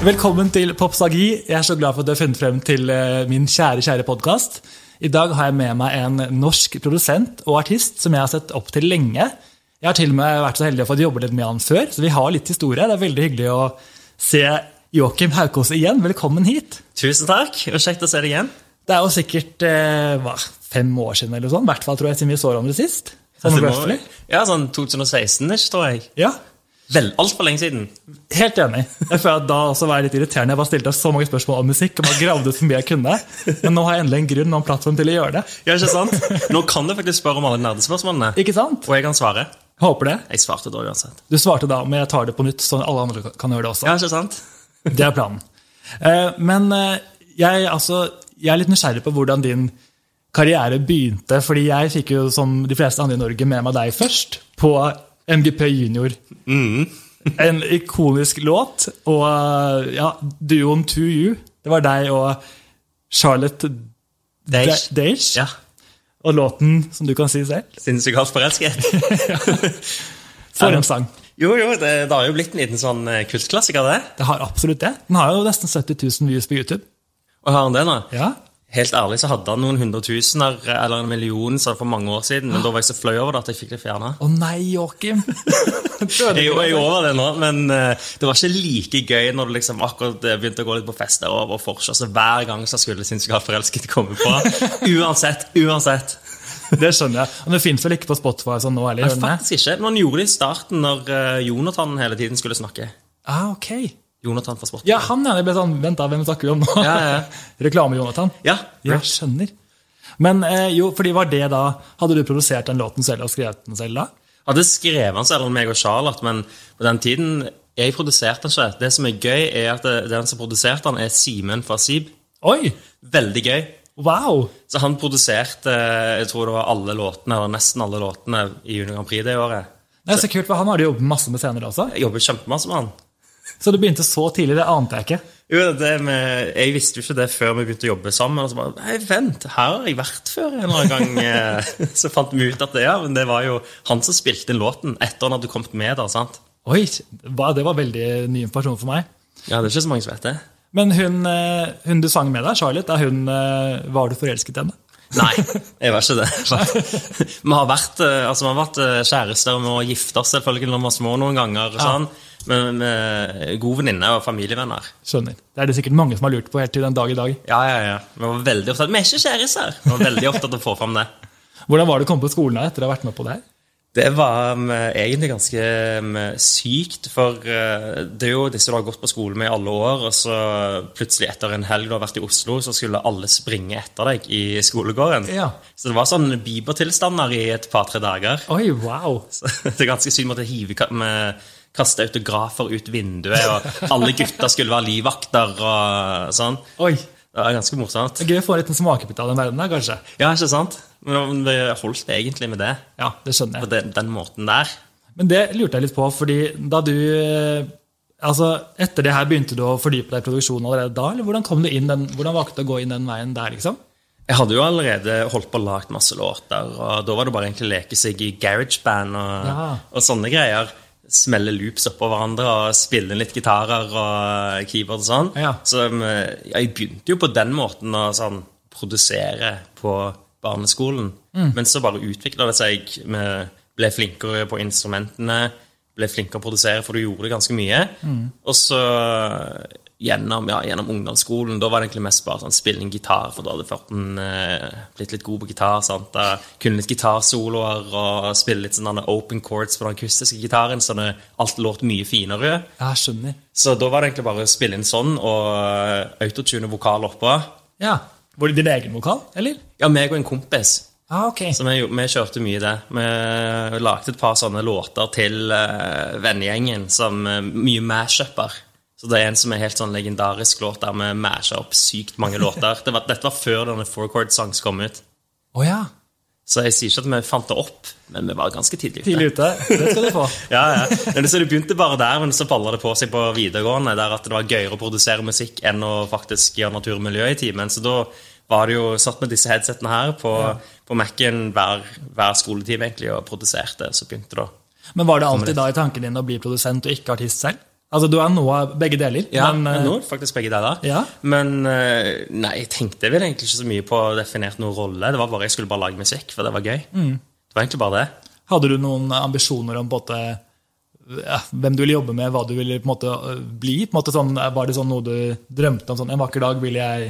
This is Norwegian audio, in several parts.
Velkommen til Popsagi. Jeg er så glad for at du har funnet frem til eh, min kjære, kjære podkast. I dag har jeg med meg en norsk produsent og artist som jeg har sett opp til lenge. Jeg har til og med vært så heldig å få jobbe litt med han før, så vi har litt historie. Det er veldig hyggelig å se Joakim Haukås igjen. Velkommen hit. Tusen takk, og kjekt å se deg igjen. Det er jo sikkert eh, hva, fem år siden, eller sånn. I hvert fall tror jeg siden vi så hverandre sist. Sånn Altså, roughly. nå- ja, sånn 2016-ish, tror jeg. Ja, Vel, altfor lenge siden. Helt enig. Jeg føler at Da også var jeg litt irriterende. Jeg bare stilte så mange spørsmål om musikk. og bare gravde ut så mye jeg kunne. Men nå har jeg endelig en grunn og en plattform til å gjøre det. Ja, ikke sant? Nå kan du faktisk spørre om alle nerdespørsmålene. Ikke sant? Og jeg kan svare. Håper det. Jeg svarte da uansett. Du svarte da, men jeg tar det på nytt, så alle andre kan gjøre det også. Ja, ikke sant? Det er planen. Eh, Men eh, jeg, altså, jeg er litt nysgjerrig på hvordan din karriere begynte. fordi jeg fikk jo, som de fleste andre i Norge, med meg deg først på MGP Junior. Mm. en ikonisk låt. Og eh, ja, duoen To You. Det var deg og Charlotte Deish. Da- Daish. Ja. Og låten, som du kan si selv, Sinnssykt halvt forelsket. for en sang. Jo, jo, det, det har jo blitt en liten sånn eh, kultklassiker, det. Det har absolutt det. Den har jo nesten 70 000 views på YouTube. Og hører han det nå? Ja, Helt ærlig så hadde han noen hundretusener eh, eller en million så for mange år siden, men da var jeg så fløy over det at jeg fikk det fjerna. Å nei, Joakim! Jeg er jo- jeg er over det nå, men eh, det var ikke like gøy når du liksom akkurat eh, begynte å gå litt på fest der over Forsa. Så hver gang så skulle Sinnssykt forelsket komme på. Uansett, uansett. Det skjønner jeg. Og det fins vel ikke på Spotify sånn nå heller? gjør den det? Faktisk ikke. Men han gjorde det i starten når eh, Jonathan hele tiden skulle snakke. Ah, ok. Jonathan fra Sport. Ja, han ja. Jeg ble sånn, Vent, da, hvem snakker vi om nå? Ja, ja. Reklame-Jonathan. Ja. Jeg skjønner. Men eh, jo, fordi var det da Hadde du produsert den låten selv og skrevet den selv da? Hadde skrevet han selv om meg og Charlotte, men på den tiden jeg produserte han ikke. Det som er gøy, er at eh, den som produserte han, er Simen fra Sib. Oi! Veldig gøy. Wow! Så han produserte eh, jeg tror det var alle låtene, eller nesten alle låtene i Junior Grand Prix det året. Det er så kult, for Han har du jobbet masse med senere også. Jeg jobber kjempemasse med han. Så det begynte så tidlig, det ante jeg ikke. Jo, det med, Jeg visste jo ikke det før vi begynte å jobbe sammen. Og så bare, nei, vent, her har jeg vært før en eller annen gang. eh. så fant vi ut at det, ja, men det var jo han som spilte inn låten etter han hadde kommet med. da, sant? Oi, hva- Det var veldig ny informasjon for meg. Ja, det er ikke så mange som vet det. Men hun, eh, hun du sang med deg, Charlotte, er hun, eh, var du forelsket i henne? Nei, jeg var ikke det. Vi har vært, eh, altså, vi har vært eh, kjærester og gifta oss selvfølgelig når vi var små noen ganger. og sånn. Men med god venninne og familievenner. Skjønner. Det er det sikkert mange som har lurt på helt til den dag i dag. Ja, ja, ja. Vi var veldig opptatt, vi er ikke kjærester! Vi var veldig opptatt av å få fram det. Hvordan var det å komme på skolen da, etter å ha vært med på det her? Det var um, egentlig ganske um, sykt, for uh, det er jo disse du har gått på skole med i alle år, og så plutselig etter en helg du har vært i Oslo, så skulle alle springe etter deg i skolegården. Ja. Så det var sånn bibertilstander i et par-tre dager. Oi, wow! Så det er ganske sykt måtte hive ka- med kaste autografer ut vinduet, og alle gutter skulle være livvakter og sånn. Oi. Det var ganske morsomt. Det er Gøy å få en liten smakebit av den verden der, kanskje. Ja, ikke sant? Men det holdt egentlig med det, Ja, det skjønner på jeg. den, den måten der. Men det lurte jeg litt på, fordi da du eh, Altså, etter det her begynte du å fordype deg i produksjonen allerede da, eller hvordan kom du inn den, hvordan valgte du å gå inn den veien der, liksom? Jeg hadde jo allerede holdt på og lagd masse låter, og da var det bare egentlig leke seg i garageband og, Ja. og sånne greier. Smelle loops oppå hverandre og spille litt gitarer og keyboard og sånn. Ja. Så um, jeg begynte jo på den måten å sånn, produsere på barneskolen. Men så bare utvikla det seg. Vi ble flinkere på instrumentene, ble flinkere å produsere, for du gjorde ganske mye. Og så gjennom, ja, gjennom ungdomsskolen, da var det egentlig mest bare sånn spille en gitar, for da hadde farten eh, blitt litt god på gitar. sant? Da kunne litt gitarsoloer og spille litt sånne open chords på den akustiske gitaren, så det, alt låt mye finere. Ja, skjønner. Så da var det egentlig bare å spille inn sånn og eh, autotune vokal oppå. Ja. Var det din egen vokal, eller? Ja, meg og en kompis. Ja, ok. Så vi, vi kjørte mye det. Vi lagde et par sånne låter til uh, vennegjengen, som eh, mye mashup-er. Så det er en som er helt sånn legendarisk låt der vi masher opp sykt mange låter. Det var, dette var før denne Four Chord Songs kom ut. Å ja. Så jeg sier ikke at vi fant det opp, men vi var ganske tidlig ute. Tidlig ute. Det skal du få. Ja, ja. Men så det begynte bare der, men så balla det på seg på videregående. der at Det var gøyere å produsere musikk enn å faktisk gjøre natur og miljø i timen. Så da var det jo satt med disse headsettene her på, på Mac-en hver, hver skoletime egentlig, og produserte. Så begynte det å Men var det alltid da i tanken din å bli produsent og ikke artist selv? Altså, Du er noe av begge deler. Ja, men, men eh, nå er det faktisk begge deler. Ja. Men eh, nei, jeg tenkte vel egentlig ikke så mye på å definere noen rolle. Det var bare Jeg skulle bare lage musikk, for det var gøy. Det var egentlig bare det. Hadde du noen ambisjoner om på en måte, ja, hvem du ville jobbe med, hva du ville på en måte øh, bli? På en måte sånn, var det sånn noe du drømte om? sånn, En vakker dag vil jeg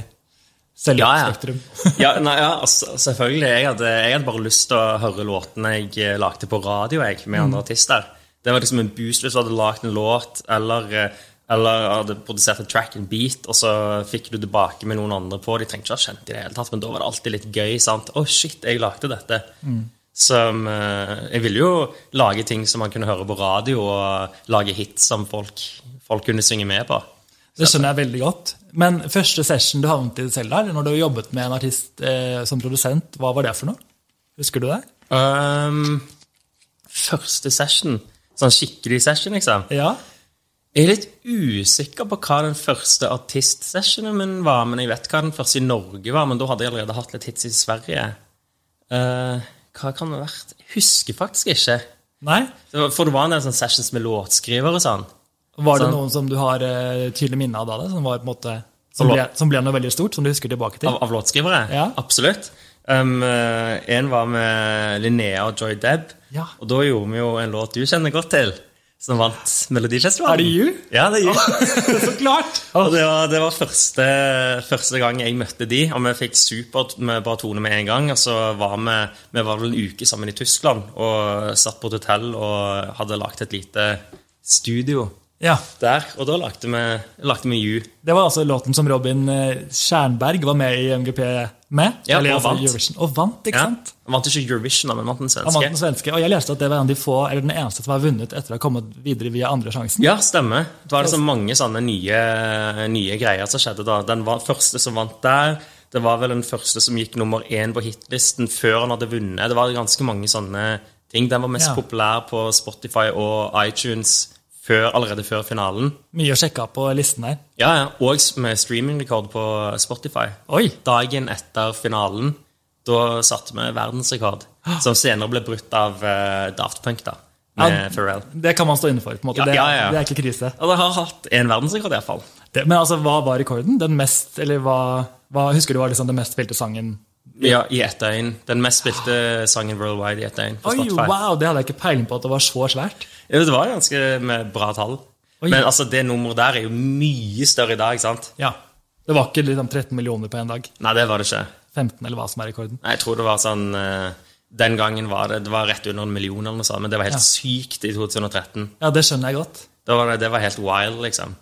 selge Ja, ja, ja. Spektrum. ja, nei, ja altså, selvfølgelig. Jeg hadde, jeg hadde bare lyst til å høre låtene jeg eh, lagde på radio jeg, med andre artister. Det var liksom en boost hvis du hadde lagd en låt eller, eh, eller hadde produsert en track, en beat, og så fikk du tilbake med noen andre på. De trengte ikke å ha kjent i det hele tatt, men da var det alltid litt gøy. sant? Å, shit, jeg lagde dette. Som, eh, jeg ville jo lage ting som man kunne høre på radio, og lage hits som folk, folk kunne synge med på. Det skjønner jeg veldig godt. Men første session du havnet i selv der, når du jobbet med en artist eh, som produsent, hva var det for noe? Husker du det? Um, første session. Sånn skikkelig session, liksom. Ja. Jeg er litt usikker på hva den første artistsessionen min var. Men jeg vet hva den første i Norge var, men da hadde jeg allerede hatt litt hits i Sverige. Eh, hva kan det ha vært? Jeg husker faktisk ikke. Nei? Det var- For det var en del sånne sessions med låtskriver og sånn. Var det Sånn. noen som du har eh, tydelig minne av da? det, Som, var, på en måte, som, Som ble, var- som ble noe veldig stort, som du husker tilbake til? Av, av låtskrivere? Ja. Absolutt. Um, eh, en var med Linnea og Joy Deb. Ja. Og da gjorde vi jo en låt du kjenner godt til, som vant Melodifestivalen. Er det You? Ja, det er You. Så klart! Og det var, det var første, første gang jeg møtte de, og vi fikk supert med bare tone med en gang. Og så var vi, vi var vel en uke sammen i Tyskland og satt på et hotell og hadde lagt et lite studio Ja. der. Og da lagde vi, lagde vi You. Det var altså låten som Robin eh, Kjernberg var med i MGP med. Ja, og altså vant. Eurovision. Og vant, ikke Ja. sant? Han vant ikke Eurovision, da, men vant den Han vant svenske. den svenske. Og jeg leste at det var en av de få, eller den eneste som har vunnet etter å ha kommet videre via andre sjansen. Ja, stemmer. Det var liksom mange sånne nye, nye greier som skjedde da. Den var første som vant der. Det var vel den første som gikk nummer én på hitlisten før han hadde vunnet. Det var ganske mange sånne ting. Den var mest Ja. populær på Spotify og iTunes før, allerede før finalen. Mye å sjekke av på listen her. Ja, ja. Og med streamingrekord på Spotify. Oi! Dagen etter finalen, da satte vi verdensrekord, som senere ble brutt av eh, Daft Punk, da, med Ah. Ja, Pharrell. Det kan man stå inne for. på en måte. Ja, det, ja, ja. det er ikke krise. Og det har hatt en verdensrekord, iallfall. Det, men altså, hva var rekorden? Den mest, eller hva, hva Husker du var liksom den mest spilte sangen? Ja, i ett døgn. Den mest spilte sangen worldwide i ett døgn. på Oi, Spotify. wow! Det hadde jeg ikke peiling på at det var så svært. Ja, Det var ganske med bra tall. Oi. Men altså, det nummeret der er jo mye større i dag, sant? Ja. Det var ikke liksom 13 millioner på én dag. Nei, det var det ikke. 15, eller hva som er rekorden. Nei, Jeg tror det var sånn eh, Den gangen var det det var rett under en million, eller noe sånt, men det var helt Ja. sykt i 2013. Ja, det skjønner jeg godt. Da var det, det var helt wild, liksom.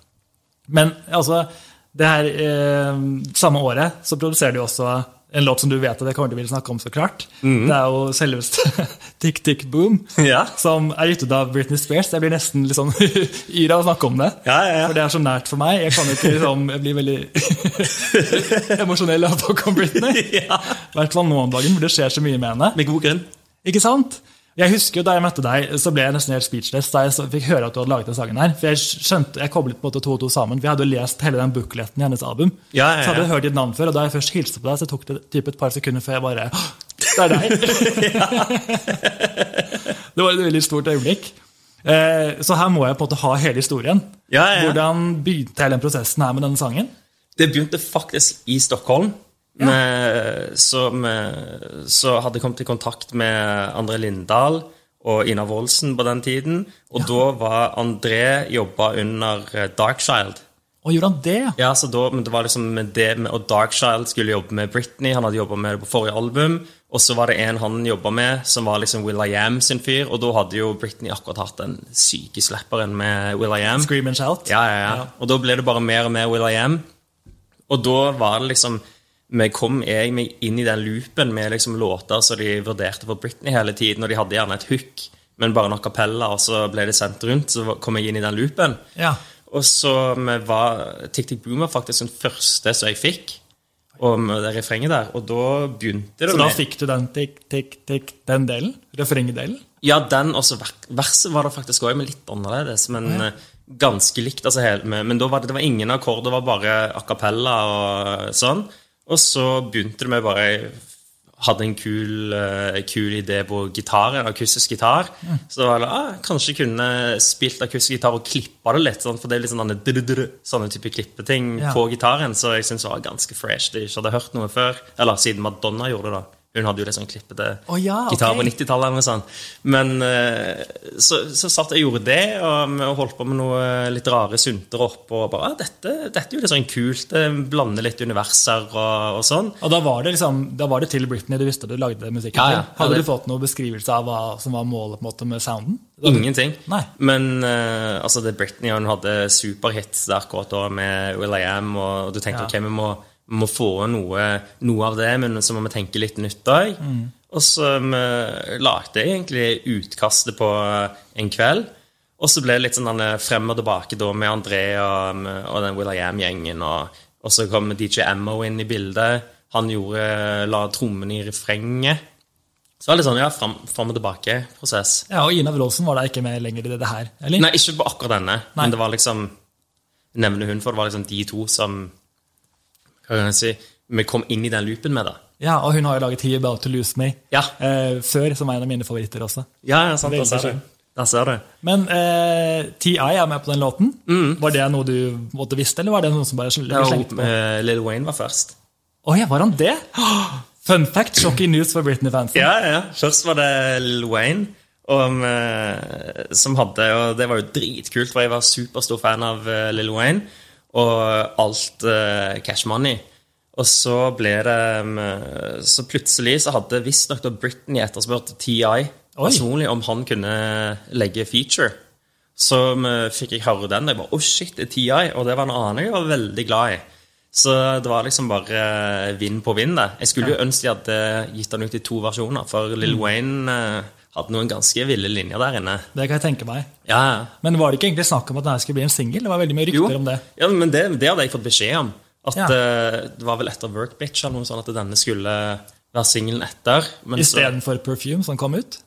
Men altså, det her eh, samme året så produserer du også en låt som du vet at jeg kommer til å ville snakke om, så klart. Det er jo selveste Tick Tick Boom, Ja. som er gitt ut av Britney Spears. Jeg blir nesten litt sånn yr av å snakke om det. Ja, ja, ja. For det er så nært for meg. Jeg kan ikke liksom, jeg blir veldig emosjonell av å snakke om Britney. ja. I hvert fall nå om dagen, hvor det skjer så mye med henne. Med god grunn. Ikke sant? Jeg husker jo Da jeg møtte deg, så ble jeg nesten helt speechless da jeg så- fikk høre at du hadde laget den sangen. her. For Jeg skjønte, jeg koblet på en måte to og to sammen. Vi hadde jo lest hele den bukletten i hennes album. Ja, ja, ja. Så hadde jeg hørt ditt navn før, og da jeg først hilste på deg, så tok det typ et par sekunder før jeg bare «Åh, Det er deg! det var et veldig stort øyeblikk. Eh, Så her må jeg på en måte ha hele historien. Ja, ja, ja. Hvordan begynte hele den prosessen her med denne sangen? Det begynte faktisk i Stockholm. Med, så, med, så hadde jeg kommet i kontakt med André Lindahl og Ina Woldsen på den tiden. Og da var André jobba under eh, Darkchild. Og gjorde han det? Ja, så da, men det var liksom med det, med, Og Darkchild skulle jobbe med Britney, han hadde jobba med det på forrige album. Og så var det en han jobba med, som var liksom Will.i.am sin fyr. Og da hadde jo Britney akkurat hatt den syke slapperen med Will.i.am. Scream and shout? Ja, ja, ja. Og da ble det bare mer og mer Will I Am. Og da var det liksom vi kom jeg meg inn i den loopen med liksom låter som de vurderte for Britney hele tiden. Og de hadde gjerne et hook, men bare noen kapella, og så ble det sendt rundt. Så kom jeg inn i den loopen. Ja. Og så vi var Tick Tick Boom var faktisk den første som jeg fikk. og med det refrenget der. Og da begynte det Så da med fikk du den tikk, tikk, tikk, den delen? Refrengedelen? Ja, den også ver- verset var det faktisk òg, men litt annerledes. Men eh, ganske likt. Altså, helt, med- men da var det, det var ingen akkord, det var bare a cappella og sånn. Og så begynte det med bare jeg hadde en kul, eh, kul idé på gitar, en akustisk gitar. Så da var det, ah, kanskje kunne spilt akustisk gitar og klippa det litt. Sånn, for det er litt sånn denne drudru- sånne type klippeting Ja. på gitaren. Så jeg syns det var ganske fresh. Jeg ikke hadde hørt noe før. Eller siden Madonna gjorde det, da. Hun hadde jo litt sånn klippete Å ja, ok. gitar på 90-tallet. eller noe sånt. Men eh, så, så satt jeg og gjorde det, og vi holdt på med noe eh, litt rare synter opp. Og bare, «Ah, dette, dette er jo litt sånn kult. det Blander litt universer og, og sånn. Og da var det liksom, da var det til Britney du visste du lagde musikken Ja, ja. til? Hadde Ja, det- du fått noen beskrivelse av hva som var målet på en måte med sounden? Ingenting. Nei. Men eh, altså det Britney hun hadde superhits der akkurat da med Will I Am, og du tenkte Ja. ok, vi må, vi må få noe, noe av det, men så må vi tenke litt nytt òg. Mm. Og så vi lagde jeg egentlig utkastet på en kveld. Og så ble det litt sånn denne frem og tilbake da med Andrea og, og den Will I Am-gjengen. Og, og så kom DJ Ammo inn i bildet. Han gjorde, la trommen i refrenget. Så det var litt sånn ja, frem, frem og tilbake-prosess. Ja, og Ina Wroldsen var da ikke med lenger i det her? eller? Nei, ikke på akkurat denne, Nei. men det var liksom Nevner hun, for det var liksom de to som Hva kan jeg si Vi kom inn i den loopen med det. Ja, og hun har jo laget He About To Lose Me Ja. eh, før, som er en av mine favoritter også. Ja, ja sant, Veldig der ser skjønn. du. Der ser du. Men eh, TI er med på den låten. Var det noe du måtte visste, eller var det noen som bare sl- Mm. Ja, og, slengte på? eh, Lil Wayne var først. Å ja, var han det? Fun fact, shocking news for Britney-fansen. Ja, ja. Først var det Lil Wayne. om, eh, som hadde, og Det var jo dritkult, for jeg var superstor fan av eh, Lil Wayne og alt eh, Cash Money. Og så ble det eh, Så plutselig så hadde visstnok da Britney etterspurt TI personlig om han kunne legge feature. Så eh, fikk jeg høre den, og jeg bare Å, shit, det er TI. Og det var en annen jeg var veldig glad i. Så det var liksom bare eh, vinn på vinn. det. Jeg skulle jo ønske de hadde gitt den ut i to versjoner, for Lill Mm. Wayne eh, hadde noen ganske ville linjer der inne. Det kan jeg tenke meg. Ja, ja. Men var det ikke egentlig snakk om at denne skulle bli en singel? Det var veldig mye Jo. rykter om det. Ja, men det, det hadde jeg fått beskjed om. At Ja. eh, Det var vel etter Workbitch eller noe sånt at denne skulle være singelen etter. men så- Istedenfor Perfume, som kom ut.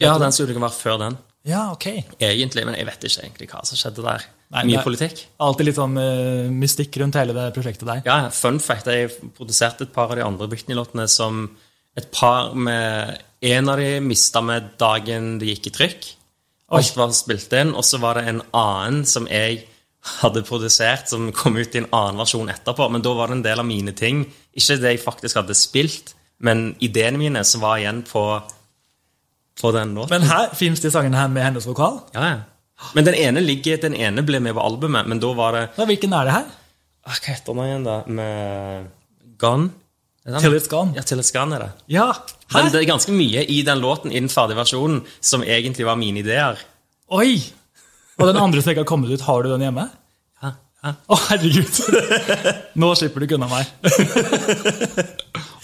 Ja, den skulle ikke være før den, Ja, ok. egentlig. Men jeg vet ikke egentlig hva som skjedde der. Nei, Mye det- politikk. Alltid litt sånn eh, mystikk rundt hele det prosjektet der. Ja, fun fact, jeg produserte et par av de andre Britney-låtene som et par med En av de mista med dagen det gikk i trykk. Alt var spilt inn. Og så var det en annen som jeg hadde produsert, som kom ut i en annen versjon etterpå. Men da var det en del av mine ting. Ikke det jeg faktisk hadde spilt, men ideene mine som var igjen på, på den låten. Men her fins de sangene her med hennes vokal. ja, ja. Men den ene ligger, den ene ble med på albumet, men da var det Ja, hvilken er det her? ah, Hva heter den igjen, da? Med Gone? Er det den? Till It's Gone. Ja, til et skan er det. Ja. Men Hæ? det er ganske mye i den låten, i den ferdige versjonen, som egentlig var mine ideer. Oi! Og den andre som ikke har kommet ut, har du den hjemme? Ja, ja. Å, herregud! Nå slipper du ikke unna meg.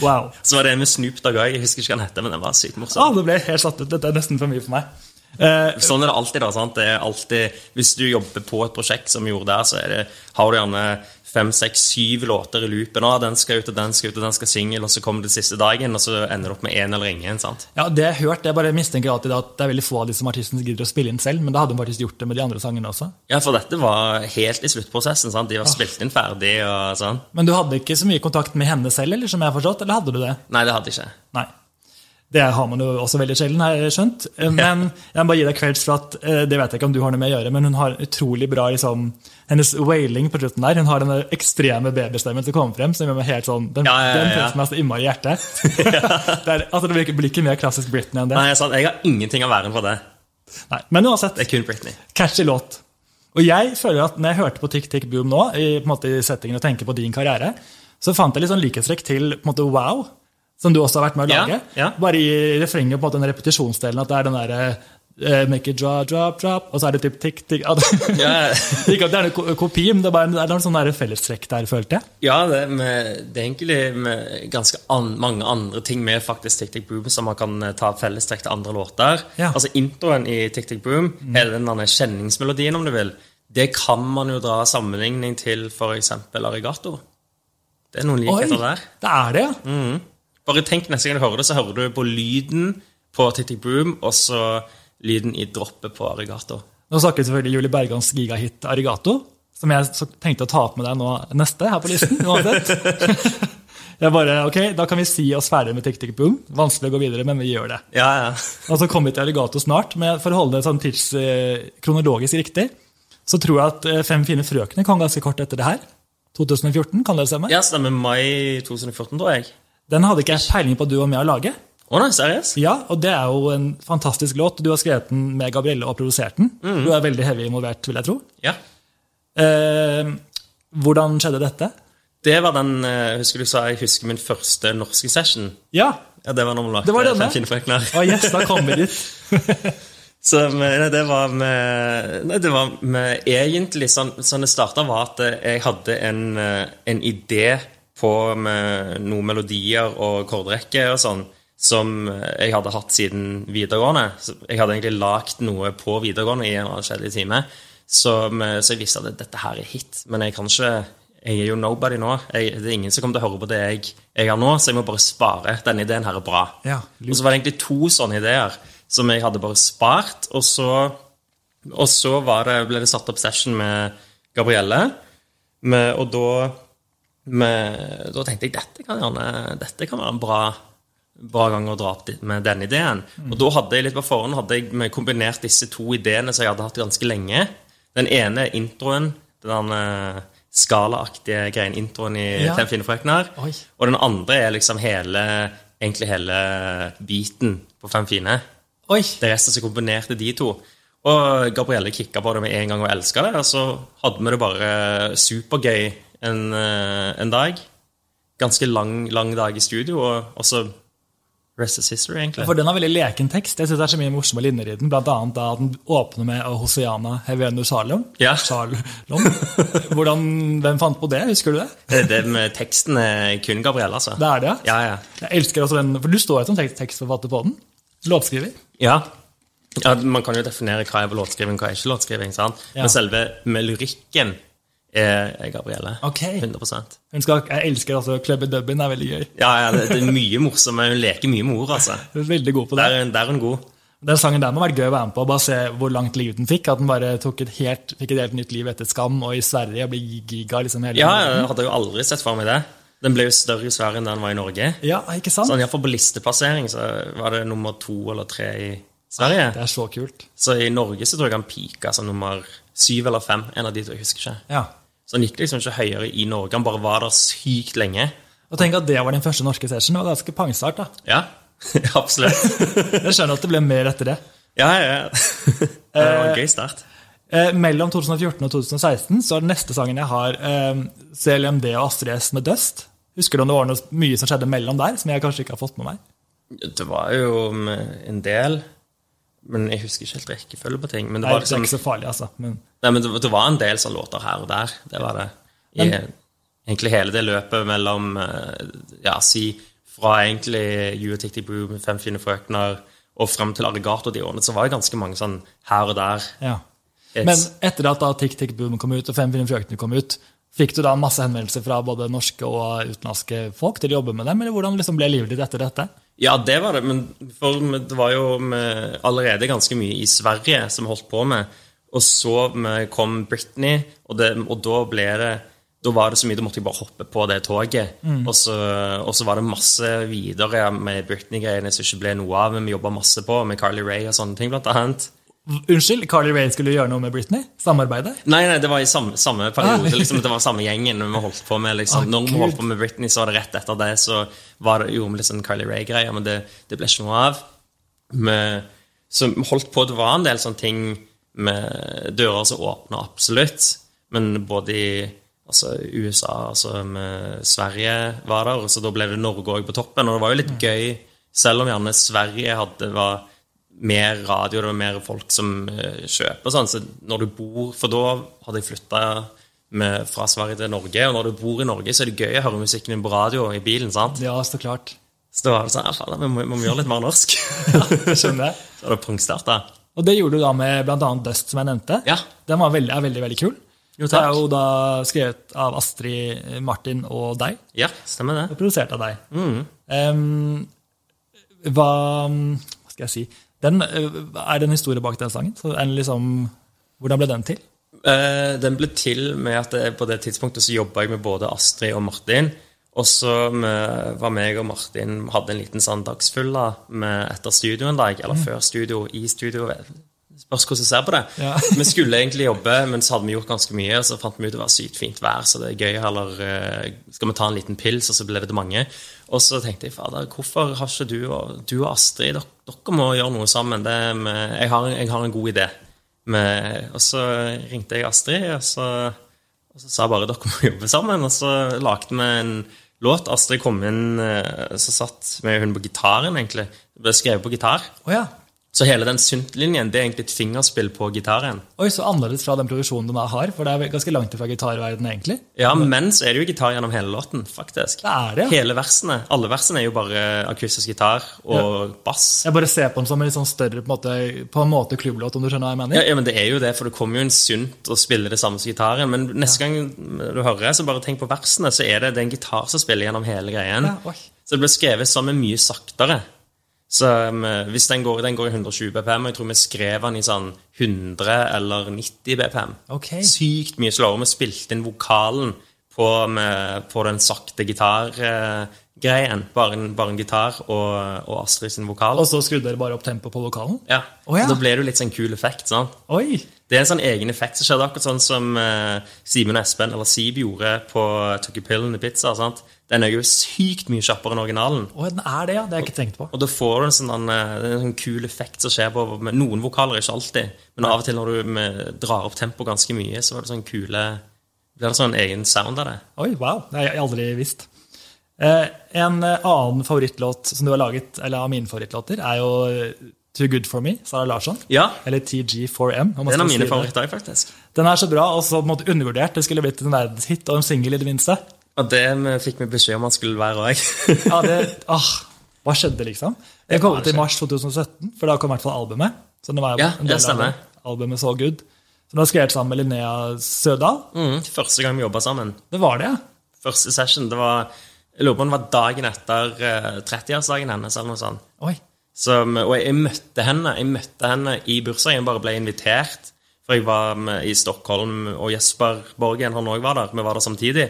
Wow. Så var det en med Snoop Dogg òg. Jeg husker ikke hva den heter, men den var sykt morsom. Ah, det ble jeg helt satt ut. Dette er nesten for mye for meg. Eh, Sånn er det alltid. da, sant? Det er alltid, Hvis du jobber på et prosjekt som vi gjorde der, så er det, har du gjerne fem, seks, syv låter i loopen. Ah, den skal ut, og den skal ut, og den skal singel, og så kommer det siste dagen, og så ender du opp med én eller ingen. sant? ja, det jeg har hørt, jeg bare mistenker alltid at det er veldig få av de som artisten gidder å spille inn selv, men da hadde hun faktisk gjort det med de andre sangene også. Ja, for dette var helt i sluttprosessen. sant? De Ah. var spilt inn ferdig og sånn. Men du hadde ikke så mye kontakt med henne selv, eller som jeg har forstått, eller hadde du det? Nei, det hadde jeg ikke. Nei. Det har man jo også veldig sjelden, har jeg skjønt. Eh, Men jeg må bare gi deg kvelds for at eh, det vet jeg ikke om du har noe med å gjøre, men hun har utrolig bra liksom, hennes wailing på slutten der. Hun har den ekstreme babystemmen som kommer frem, som gjør meg helt sånn Den, Ja, ja, ja, den ja. føles meg så innmari i hjertet. det, er, altså, det blir ikke- blir ikke mer klassisk Britney enn det. Nei, sant? Jeg har ingenting av æren for det. Nei. Men uansett, Det er kun Britney. Catchy låt. Og jeg føler at når jeg hørte på Tick Tick Boom nå, i, på en måte, i settingen å tenke på din karriere, så fant jeg litt sånn likhetstrekk til på en måte, Wow, som du også har vært med å Ja, lage. ja. Bare i refrenget på en måte, den repetisjonsdelen, at det er den derre eh, Make it drop, drop, drop, og så er det typ tick, tick at, Ja. Ikke at det er noen ko- kopi, men det er bare det er noen sånne der fellestrekk der, følte jeg. Ja, det, med, det er egentlig med ganske an, mange andre ting med faktisk Tick Tick Boom som man kan eh, ta fellestrekk til andre låter. Ja. Altså Introen i Tick Tick Boom, hele den derne kjenningsmelodien, om du vil, det kan man jo dra sammenligning til f.eks. Arigato. Det er noen likheter der. det er det, ja. Bare tenk neste gang du hører det, så hører du på lyden på Titti Broom, og så lyden i droppet på Arigato. Nå snakker vi selvfølgelig Julie Bergans gigahit Arigato, som jeg så tenkte å ta opp med deg nå neste her på listen. uansett. jeg bare, ok, Da kan vi si oss ferdig med TikTok Boom. Vanskelig å gå videre, men vi gjør det. Ja, ja. Og så kommer vi til Alligato snart, men for å holde det sånn tids, eh, kronologisk riktig, så tror jeg at eh, Fem fine frøkner kom ganske kort etter det her. 2014, kan dere stemme? Ja, stemmer mai 2014, tror jeg. Den hadde ikke jeg peiling på at du var med å lage. Å nei, seriøst? Ja, og det er jo en fantastisk låt. Du har skrevet den med Gabrielle og produsert den. Du er veldig heavy involvert, vil jeg tro. Ja. Eh, hvordan skjedde dette? Det var den eh, Husker du sa jeg husker min første norske session? Ja, Ja, Det var når vi lagde Det var denne. Fem fine frøkner. og yes, da kom vi dit. Så men, nei, det var med Nei, det var med Egentlig sånn, sånn det starta, var at eh, jeg hadde en, eh, en idé på med noen melodier og kordrekke og sånn som eh, jeg hadde hatt siden videregående. Så jeg hadde egentlig lagd noe på videregående i en eller annen kjedelig time. Så, men, så jeg visste at dette her er hit, men jeg kan ikke Jeg er jo nobody nå. Jeg, det er ingen som kommer til å høre på det jeg, jeg har nå, så jeg må bare spare. Denne ideen her er bra. Ja, Og så var det egentlig to sånne ideer som jeg hadde bare spart. Og så, og så var det, ble det satt opp session med Gabrielle. Med, og da, med, da tenkte jeg dette kan, gjerne, dette kan være en bra, bra gang å dra opp dit med denne ideen. Og da hadde jeg litt på forhånd hadde jeg med- kombinert disse to ideene som jeg hadde hatt ganske lenge. Den ene er introen. den eh, skalaaktige greien, introen i Ja. Fem fine frøkner. Oi. Og den andre er liksom hele, egentlig hele biten på Fem fine. Oi, Det resten som kombinerte de to. Og Gabrielle kicka på det med en gang og elska det. Og så hadde vi det bare supergøy en, eh, en dag. Ganske lang, lang dag i studio, og og så Rest is history, egentlig. for den har veldig leken tekst. Jeg synes det er så mye morsomme linjer i den, blant annet da den åpner med Hosiana Hevenu Shalom. Ja. Shalom. Hvordan, hvem fant på det? Husker du det? Det, det med teksten er kun Gabrielle, altså. Det er det, ja. Ja, ja. Jeg elsker også den, for du står jo som tek- tekstforfatter på den. Låtskriver. Ja. ja, man kan jo definere hva er låtskriving, hva er ikke låtskriving. sant? Ja. Men selve med lyrikken er er Gabrielle. Ok. 100 Hun skal, jeg elsker altså Clubby Dubbin, er veldig gøy. Ja, ja, det, det er mye morsomt. Hun leker mye med ord, altså. Hun er Veldig god på det. Der, er hun- der er hun god. Den sangen der må ha vært gøy å være med på, bare se hvor langt liv den fikk. At den bare tok et helt, fikk et helt nytt liv etter Skam, og i Sverige ble giga liksom hele Ja, jeg hadde jo aldri sett for meg det. Den ble jo større i Sverige enn den var i Norge. Ja, ikke sant? Sånn, i hvert fall på listeplassering så var det nummer to eller tre i Sverige. Det er så kult. Så i Norge så tror jeg han pika som nummer syv eller fem. En av de to, jeg husker ikke. Ja. Så han gikk liksom ikke høyere i Norge. Han bare var der sykt lenge. Og tenk at det var din første norske session. Det var ganske pangstart, da. Ja, absolutt. Jeg skjønner at det ble mer etter det. Ja, ja, ja. Det var en gøy start. Eh, mellom 2014 og 2016 så er den neste sangen jeg har, eh, CLMD og Astrid S med Dust. Husker du om det var noe mye som skjedde mellom der, som jeg kanskje ikke har fått med meg? Det var jo mm, en del Men jeg husker ikke helt rekkefølge på ting. Men det Nei, var det er liksom ikke så farlig, altså. Men Nei, men det, det var en del sånne låter her og der. Det var det. I, egentlig hele det løpet mellom eh, Ja, si fra egentlig You and Tick Boom, Fem fine frøkner og frem til Arigato de årene, så var det ganske mange sånn her og der. ja. hits. Men etter at da Tick Tick Boom kom ut, og Fem fine frøkner kom ut, fikk du da masse henvendelser fra både norske og utenlandske folk til å jobbe med dem, eller hvordan liksom ble livet ditt etter dette? Ja, det var det. Men for det var jo med allerede ganske mye i Sverige som holdt på med. Og så med- kom Britney, og, det, og da ble det da var det så mye, da måtte jeg bare hoppe på det toget. Og, så, og så var det masse videre med Britney-greiene som ikke ble noe av. Men vi jobba masse på med Carly Rae og sånne ting, blant annet. Unnskyld, Carly Rae skulle gjøre noe med Britney? Samarbeide? Nei, nei, det var i samme, samme periode. Ah. Liksom, det var samme gjengen vi holdt på med. Liksom. Ah, Når vi Gud. holdt på med Britney, så var det rett etter det. Så var det, gjorde vi litt sånn Kylie Rae-greier, men det, det ble ikke noe av. Vi- så vi holdt på, det var en del sånne ting med dører som åpna absolutt. Men både i altså, USA altså med Sverige var der, så da ble det Norge òg på toppen. Og det var jo Mm. litt gøy, selv om gjerne Sverige hadde var mer radio, det var mer folk som eh, kjøper sånn. Så når du bor For da hadde jeg flytta fra Sverige til Norge, og når du bor i Norge, så er det gøy å høre musikken din på radio i bilen. sant? Ja, så klart. Så da var det sånn Ja, faen, vi må, vi må gjøre litt mer norsk. Skjønner jeg. så var det pungstarta. Og det gjorde du da med bl.a. Dust, som jeg nevnte. Ja. Den var veldig, er veldig, veldig kul. Det Jo, er takk. jo da skrevet av Astrid, eh, Martin og deg. Ja, stemmer det. Og produsert av deg. Em, hva, hva skal jeg si den, eh, Er det en historie bak den sangen? Så er den liksom, hvordan ble den til? Eh, den ble til med at det, på det tidspunktet så jobba jeg med både Astrid og Martin. Og så med, var meg og Martin hadde en liten sånn dagsfylla med etter studio en dag. Eller før studio, i studio. Spørs hvordan du ser på det. Ja. vi skulle egentlig jobbe, men så hadde vi gjort ganske mye. Og så fant vi ut det var sykt fint vær, så det er gøy. Eller eh, skal vi ta en liten pils? Og så ble det mange. Og så tenkte jeg fader, hvorfor har ikke du og, du og Astrid dere, dere må gjøre noe sammen. Det, er med, jeg, har, jeg har en god idé. Med, og så ringte jeg Astrid, og så, og så sa jeg bare dere må jobbe sammen. Og så lagde vi en låt. Astrid kom inn, eh, så satt vi hun på gitaren, egentlig. Det ble skrevet på gitar. Å ja. Så hele den synt-linjen det er egentlig et fingerspill på gitaren. Oi, Så annerledes fra den produksjonen den har, for det er ganske langt fra gitarverdenen egentlig. Ja, men så er det jo gitar gjennom hele låten, faktisk. Det er det, ja. Hele versene. Alle versene er jo bare akustisk gitar og bass. Jeg bare ser på den som en litt sånn større på en måte, på en måte klubblåt, om du skjønner hva jeg Ja, mener? ja, men det er jo det, for det kommer jo en synt og spiller det samme som gitaren. Men neste gang du hører, så bare tenk på versene, så er det, det er en gitar som spiller gjennom hele greien. Ja, oi. så det ble skrevet sammen mye saktere. Så um, hvis den går, den går i 120 BPM, og jeg tror vi skrev den i sånn 100 eller 90 BPM. Ok. Sykt mye slåere. Vi spilte inn vokalen på, med, på den sakte gitargreien. Bare, en- bare en gitar og, og Astrid sin vokal. Og så skrudde dere bare opp tempoet på vokalen? Ja. Å, ja. Så da ble det jo litt sånn kul effekt. sant? Oi! Det er en sånn egen effekt som skjedde, akkurat sånn som eh, Simen og Espen, eller Sib, gjorde på Took a Pill and a Pizza. sant? Den er jo sykt mye kjappere enn originalen. Å, den er det, ja. Det har jeg ikke tenkt på. Og da får du en sånn, eh, det er en sånn kul effekt som skjer på med noen vokaler, ikke alltid. Men av og til når du med, drar opp tempo ganske mye, så er det sånn kule blir det sånn egen sound av det. Oi, wow. Det har jeg aldri visst. Eh, en eh, annen favorittlåt som du har laget, eller av mine favorittlåter, er jo eh, Too Good For Me, Sara Larsson. Ja, Eller TG4M. om man det skal er en av si mine det. favoritter, faktisk. Den er så bra, og så på en måte undervurdert. Det skulle blitt en verdenshit og en singel, i det minste. Og det eh, fikk vi beskjed om han skulle være òg. Ja, det, ah, hva skjedde, liksom? Den kom ut i mars 2017, for da kom i hvert fall albumet. Så den var jo Ja, en del det stemmer. av albumet So Good. Så den var skrevet sammen med Linnea Sødal. mm, første gang vi jobba sammen. Det var det, ja. Første session. Det var Jeg lurer på om det var dagen etter eh, 30-årsdagen hennes eller noe sånt. Oi. Som, og jeg møtte henne jeg møtte henne i bursdagen, bare ble invitert. For jeg var med i Stockholm, og Jesper Borgen han også var der. Vi var der samtidig.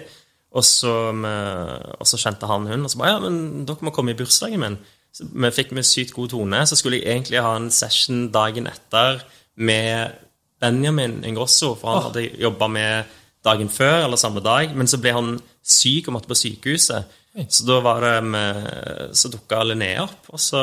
Og så, eh, og så kjente han hun, og så bare ja, men dere må komme i bursdagen min. Så vi fikk med sykt god tone. Så skulle jeg egentlig ha en session dagen etter med Benjamin Ingrosso, for han hadde jobba med dagen før eller samme dag. Men så ble han syk og måtte på sykehuset. Så da var det med, så dukka Linnea opp, og så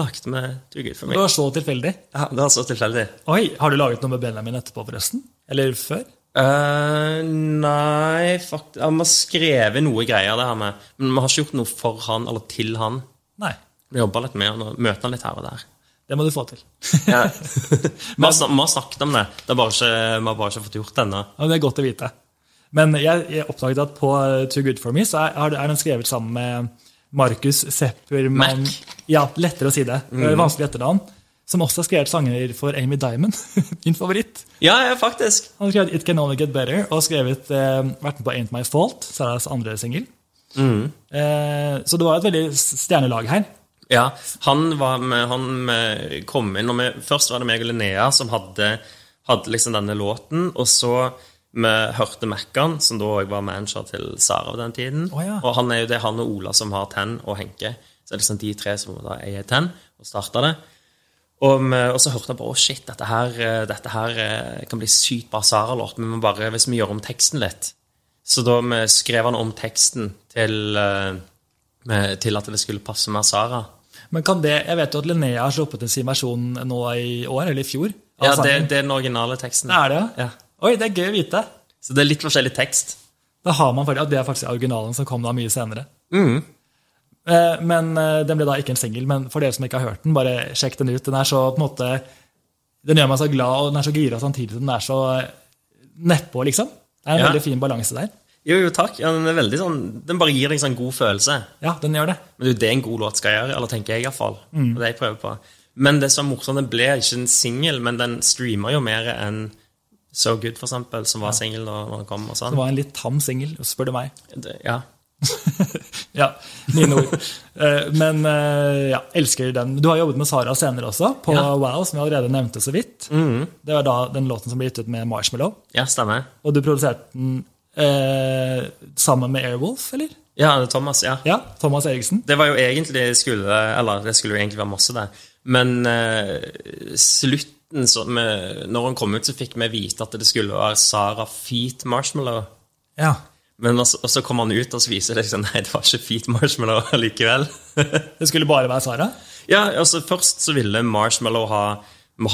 lagde vi Du Gud for Det meg. var så tilfeldig. Ja, det var så tilfeldig. Oi, Har du laget noe med Benjamin etterpå, forresten? Eller før? Eh, nei, fakt... ja, Vi har skrevet noe greier, det her med. Men vi har ikke gjort noe for han eller til han. Nei. Vi jobber litt med han og møter han litt her og der. Det må du få til. Ja. vi, har, snak- vi har snakket om det. det er bare ikke, vi har bare ikke fått gjort det ennå. Ja, det er godt å vite. Men jeg, jeg oppdaget at på eh, Too Good For Me så er, har- er den skrevet sammen med Markus Seppermann Mac. Ja, lettere å si det. Det er Vanskelig etternavn. Som også har skrevet sanger for Amy Diamond. Min favoritt. Ja, ja, faktisk. Han har skrevet It Can Only Get Better og skrevet, eh, vært med på Ain't My Fault, Sarahs andre singel. Eh, så det var et veldig stjernelag her. Ja, han, var med, han med, kom inn og vi, Først var det meg og Linnea som hadde, hadde liksom denne låten. Og så vi hørte Mackan, som da òg var manager til Sara på den tiden. Å ja. Og han er jo det er han og Ola som har Ten og Henke. Så det er liksom de tre som da eier Ten, og starta det. Og, vi- og så hørte han bare å shit, dette her, eh, dette her eh, kan bli sykt bra Sara-låt, men vi må bare, hvis vi gjør om teksten litt Så da vi skrev han om teksten til, eh, med- til at det skulle passe mer Sara. Men kan det, Jeg vet jo at Linnea har sluppet en sin versjon nå i år, eller i fjor. av Ja, sangen. det, det er den originale teksten. Det er det, ja? Ja. Oi, det er gøy å vite. Så det er litt forskjellig tekst. Da har man faktisk, ja, Det er faktisk originalen som kom da mye senere. Mm. Eh, Men eh, Den ble da ikke en singel, men for dere som ikke har hørt den, bare sjekk den ut. Den er så på en måte, den gjør meg så glad, og den er så gira samtidig som den er så eh, nedpå, liksom. Det er en Ja. veldig fin balanse der. Jo, jo, takk. Ja, den, er veldig sånn, den bare gir deg en sånn god følelse. Ja, den gjør det. Men det er jo det en god låt skal gjøre, eller tenker jeg iallfall. Mm. Det jeg prøver på. Men det som er morsomt, den ble ikke en singel, men den streamer jo mer enn So Good, for eksempel, som var singel da når han kom. og Det sånn. var en litt tam singel, spør du meg. Det, ja. ja, mine ord. Eh, Men eh, ja, elsker den. Du har jobbet med Sara senere også, på Ja. Mm. Wow, som jeg allerede nevnte så vidt. Det var da den låten som ble gitt ut med Marshmallow. ja, stemmer. Og du produserte den eh, sammen med Airwolf, eller? Ja, det er Thomas, ja. Ja, Thomas Eriksen. Det var jo egentlig skulle, eller det skulle jo egentlig være masse der. Men eh, slutten, så, med, når hun kom ut, så fikk vi vite at det skulle være Sara Feet Marshmallow. Ja. Men også, og så kom han ut, og så viser det seg nei, det var ikke Feet Marshmallow likevel. Det skulle bare være Sara? ja, altså Først så ville Marshmallow ha,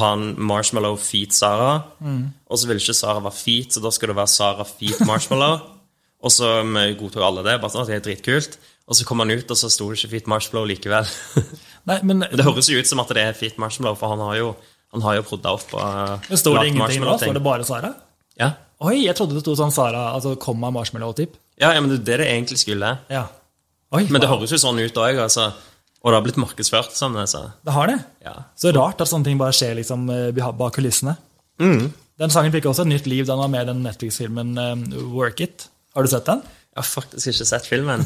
ha en Marshmallow Feet Sara. Og så ville ikke Sara være Feet, så da skulle det være Sara Feet Marshmallow. og så vi godtok alle det. bare sånn, «Å, det er dritkult. Og så kom han ut, og så sto det ikke Feet Marshmallow likevel. Nei, men Det høres jo ut som at det er Fit Marshmallow, for han har jo, han har jo prodda opp og men står det ingenting nå? Står det bare Sara? Ja. Oi, jeg trodde det sto sånn Sara, altså komma Marshmallow-typ. Ja, ja, men det er det det egentlig skulle. Ja. Oi, Men det wow. høres jo sånn ut òg, altså. Og det har blitt markedsført som det, så det har det. ja. Så rart at sånne ting bare skjer liksom, eh, beh- bak kulissene. Mm. Den sangen fikk også et nytt liv da den var med i den Netflix-filmen eh, Work It. Har du sett den? Jeg har faktisk ikke sett filmen.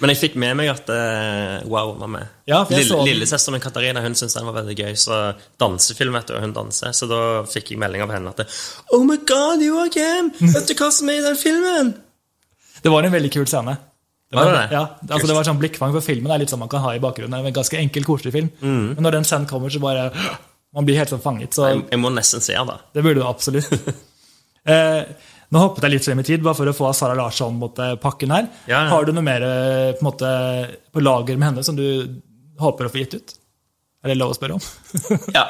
Men jeg fikk med meg at eh, Wow var med. Ja, for jeg Lille, så den. Lillesøsteren min Katarina hun syntes den var veldig gøy, så dansefilm, vet du, og hun danser. Så da fikk jeg melding av henne at det, Oh my god, Joakim! Vet du hva som er i den filmen? Det var en veldig kul scene. Var det det? Ja, altså det var sånn Blikkfang for filmen det er litt sånn man kan ha i bakgrunnen. Det er En ganske enkel, koselig film. Mm. Men når den scenen kommer, så bare Man blir helt sånn fanget. Så Jeg, jeg må nesten se den, da. det burde du absolutt. eh, nå hoppet jeg litt frem i tid, bare for å få Sara Larsson mot eh, pakken her. Ja, ja. Har du noe mer eh, på, en måte, på lager med henne som du håper å få gitt ut? Er det lov å spørre om? Ja.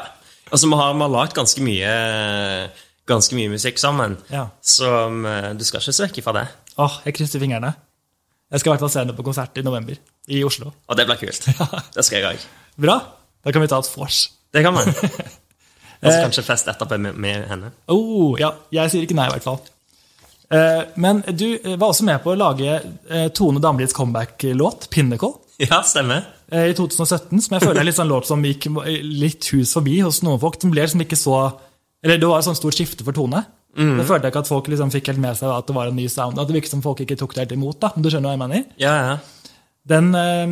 Altså, vi har, vi har lagd ganske mye Ganske mye musikk sammen, Ja. så eh, du skal ikke se vekk fra det. Åh, Ah, jeg krysser fingrene. Jeg skal i hvert fall se henne på konsert i november i Oslo. Og det blir kult. Det skal jeg òg. Bra! Da kan vi ta et vors. Det kan man. Og så kanskje fest etterpå med, med henne. Oh, ja, jeg sier ikke nei, i hvert fall. Eh, Men du eh, var også med på å lage eh, Tone Damlis comeback-låt, 'Pinnacle', Ja, stemmer. eh, i 2017. Som jeg føler er litt sånn låt som gikk litt hus forbi hos noen folk. Den ble liksom ikke så Eller det var et sånt stort skifte for Tone. Jeg følte ikke at folk liksom fikk helt med seg at det var en ny sound. At det virket som folk ikke tok det helt imot. da, om du skjønner hva jeg mener. Ja, ja. den eh,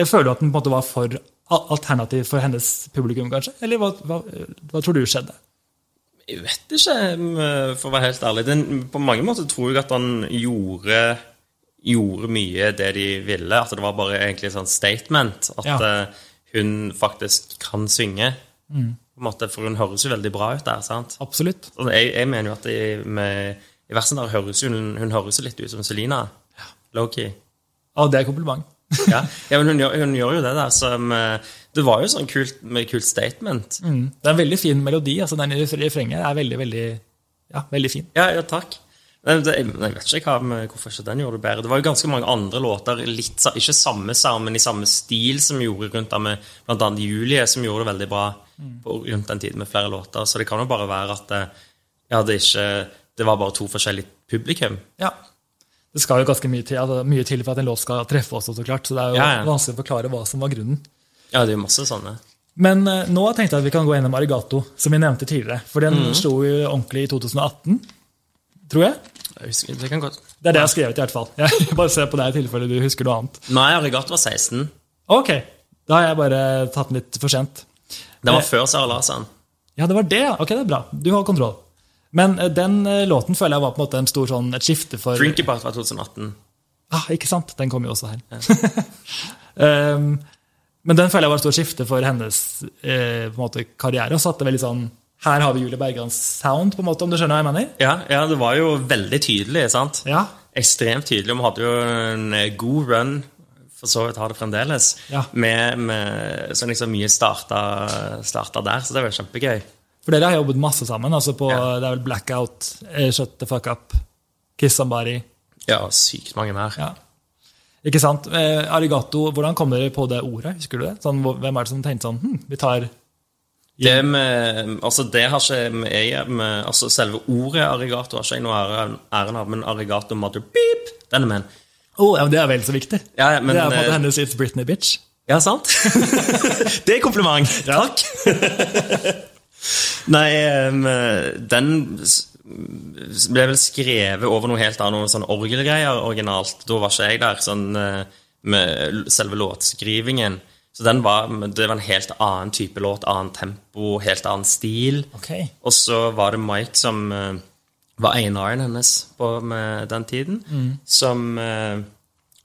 Jeg føler at den på en måte var for al- alternativ for hennes publikum, kanskje? Eller hva, hva, hva tror du skjedde? Jeg vet ikke, eh, for å være helt ærlig. Den, på mange måter tror jeg at han gjorde Gjorde mye det de ville. At det var bare egentlig et sånt statement. At Ja. eh, hun faktisk kan synge. På en måte, for hun høres jo veldig bra ut der. sant? Absolutt. Og Jeg, jeg mener jo at i, med, i versen der høres hun, hun høres jo litt ut som Selina. Low-key. Ja, det er et kompliment. Ja. ja, men hun gjør, hun gjør jo det der. Som, eh, det var jo sånn kult, med kult statement. Mm. Det er en veldig fin melodi. altså Den i refre- refrenget er veldig, veldig ja, veldig fin. Ja, ja, takk. Nei, det, jeg jeg vet ikke hva, med- hvorfor ikke den gjorde det bedre. Det var jo ganske mange andre låter, litt, sa- ikke samme sound, men i samme stil, som gjorde rundt der med blant annet Julie, som gjorde det veldig bra på, rundt den tiden med flere låter. Så det kan jo bare være at eh, ja, det, ikke, det var bare to forskjellige publikum. Ja. Det skal jo ganske mye til, altså, mye til for at en låt skal treffe også, så klart. Så det er jo Ja, ja. vanskelig å forklare hva som var grunnen. Ja, det er jo masse sånne. Men eh, nå tenkte jeg at vi kan gå gjennom Arigato, som vi nevnte tidligere. For den slo jo ordentlig i 2018, tror jeg. Jeg husker, det kan godt. Det er det jeg har skrevet, i hvert fall. Jeg bare ser på deg i tilfelle du husker noe annet. Nei, Arigato var 16. Ok, da har jeg bare tatt den litt for sent. Det var Eh. før Sara Larsson. Ja, det var det. ja. Ok, det er bra. Du har kontroll. Men eh, den eh, låten føler jeg var på en måte en stor sånn, et skifte for Drink About var 2018. Ah, ikke sant? Den kom jo også her. um, men den føler jeg var et stort skifte for hennes eh, på en måte, karriere. Og satte veldig sånn Her har vi Julie Bergans sound, på en måte, om du skjønner hva jeg mener? Ja, ja, det var jo veldig tydelig, sant? Ja. Ekstremt tydelig. Vi hadde jo en eh, god run, for så vidt har det fremdeles, Ja. med, med så liksom mye starta, starta der, så det var kjempegøy. For dere har jobbet masse sammen. altså på, Ja. Det er vel Blackout, eh, Shut the Fuck Up, Kiss Somebody. Ja, og sykt mange mer. Ja. Ikke sant? Eh, arigato, hvordan kom dere på det ordet? Husker du det? Sånn, hvor- hvem er det som tenkte sånn hm, vi tar Det med, altså det har ikke med, jeg, med, altså Selve ordet arigato har ikke jeg noe ære- æren av, men arigato mother beep, den er min. oh, ja, men Det er vel så viktig. Ja, ja, men, det er på en måte eh, hennes It's Britney Bitch. Ja, sant? det er kompliment. Takk. Nei, em, den s- ble vel skrevet over noe helt annet, noen sånne orgelgreier originalt. Da var ikke jeg der, sånn eh, med l- selve låtskrivingen. Så den var, men det var en helt annen type låt, annet tempo, helt annen stil. Ok. Og så var det Mike som eh, var A&R-en hennes på med den tiden, Mm. som, eh,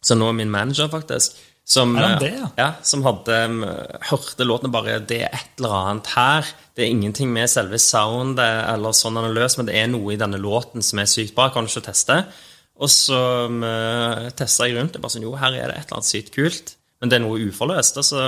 som nå er min manager, faktisk. Som, Er han eh, det, ja? ja, som hadde um, hørte låten og bare Det er et eller annet her. Det er ingenting med selve soundet eller sånn den er løs, men det er noe i denne låten som er sykt bra. Kan du ikke teste? Og så um, testa jeg rundt. Jeg bare sånn, Jo, her er det et eller annet sykt kult. Men det er noe uforløst. Og så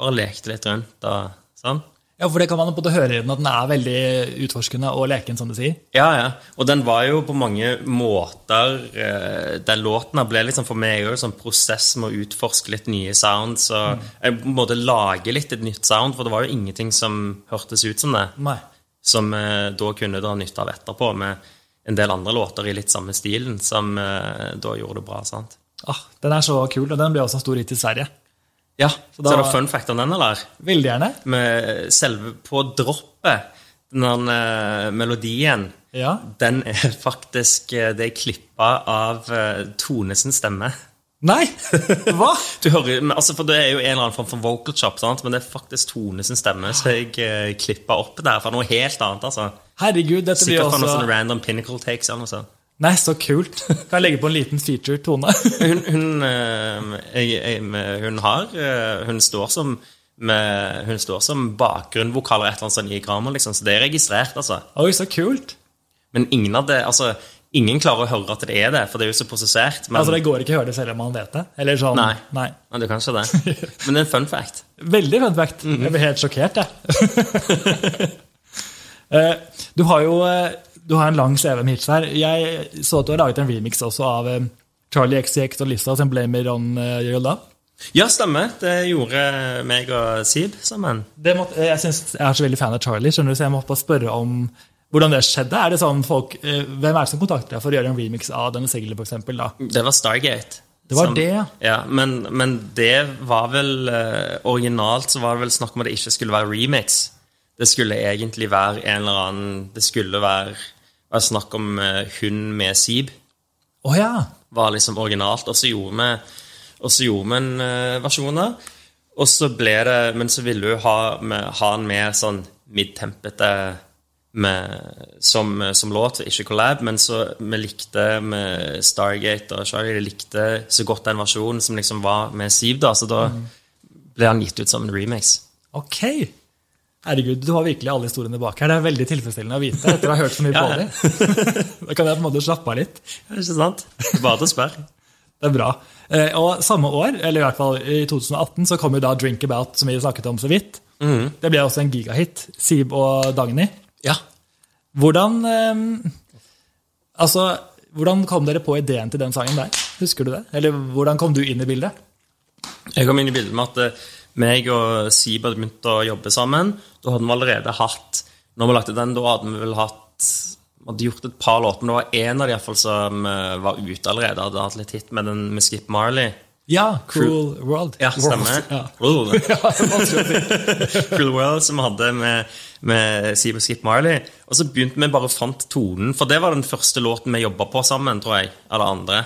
bare lekte litt rundt og sånn. Ja, for det kan man både høre i den at den er veldig utforskende og leken, som du sier. Ja, ja. Og den var jo på mange måter eh, Den låten her ble liksom for meg jo en sånn prosess med å utforske litt nye sounds. Og jeg på en måte lage litt et nytt sound, for det var jo ingenting som hørtes ut som det. Nei. Som eh, da kunne dra nytte av etterpå, med en del andre låter i litt samme stilen, som eh, da gjorde det bra. sant? Ah, den er så kul, og den ble også en stor hit i Sverige. Ja, Så, da- er det fun fact om den, eller? Veldig gjerne. Med selve på droppet, den der, eh, melodien Ja. Den er faktisk eh, Det er klippa av eh, Tonesens stemme. Nei! Hva? Du hører, men altså for Det er jo en eller annen form for vocal chop, sant? men det er faktisk Tonesens stemme. Så jeg klippa opp der fra noe helt annet. altså. Herregud, dette blir altså- Sikkert sånn fra noen også sånne random pinnacle takes. eller noe sånt. Nei, så kult. Kan jeg legge på en liten feature, Tone? Hun, hun, eh, jeg, jeg, med- hun har eh, Hun står som med, hun står som bakgrunnvokal eller et eller annet sånt i Grammar, liksom, så det er registrert. altså. Oi, så kult. Men ingen av det, altså, ingen klarer å høre at det er det, for det er jo så prosessert. Men, Altså, Det går ikke å høre det selv om man vet det. Eller sånn, Nei. nei. men du kan ikke det. Men det er en fun fact. Veldig fun fact. Mhm. Jeg blir helt sjokkert, jeg. Eh, du har jo eh, du har en lang CV med hits her. Jeg så at du har laget en remix også av eh, Charlie XCX og Lizza som 'Blame It On eh, Your Love'. Ja, stemmer. Det gjorde meg og Sib sammen. det måtte, jeg, synes, jeg er så veldig fan av Charlie, skjønner du, så jeg måtte bare spørre om hvordan det skjedde. Er det sånn folk, eh, Hvem er det som kontakter deg for å gjøre en remix av denne singelen, for eksempel, da? Det var Stargate. Det var det, ja. ja. Men, men det var vel eh, Originalt så var det vel snakk om at det ikke skulle være remix. Det skulle egentlig være en eller annen Det skulle være, være snakk om eh, hun med Sib. Å ja! var liksom originalt. Og så gjorde vi, og så gjorde vi en eh, versjon der. Og så ble det, Men så ville hun ha, med, ha en mer sånn midtempete med, som, som låt, ikke collab, men så vi likte med Stargate og Charlie likte så godt den versjonen som liksom var med Siv, da, så da ble han gitt ut som en remix. Ok! Herregud, du har virkelig alle historiene bak her. Det er veldig tilfredsstillende å vite etter å ha hørt så mye Ja, på ja. dem. da kan jeg på en måte slappe av litt. Er det Ikke sant? Bare til å spørre. Det er bra. Eh, Og samme år, eller i hvert fall i 2018, så kom jo da Drink About, som vi snakket om så vidt. Mm. Det ble også en gigahit. Sib og Dagny. Ja. Hvordan eh, Altså, hvordan kom dere på ideen til den sangen der? Husker du det? Eller hvordan kom du inn i bildet? Jeg kom inn i bildet med at eh, meg og Sib hadde begynt å jobbe sammen. Da hadde vi allerede hatt Når vi lagde den, da hadde vi vel hatt vi hadde gjort et par låter, men det var én av de i hvert fall som eh, var ute allerede. Hadde hatt litt hit med den med Skip Marley. Ja, Cruel World. Ja, stemmer. Ja. Cool. vanskelig å si. Cruel World som vi hadde med, med Sib og Skip Marley. Og så begynte vi bare fant tonen, for det var den første låten vi jobba på sammen, tror jeg. Eller andre.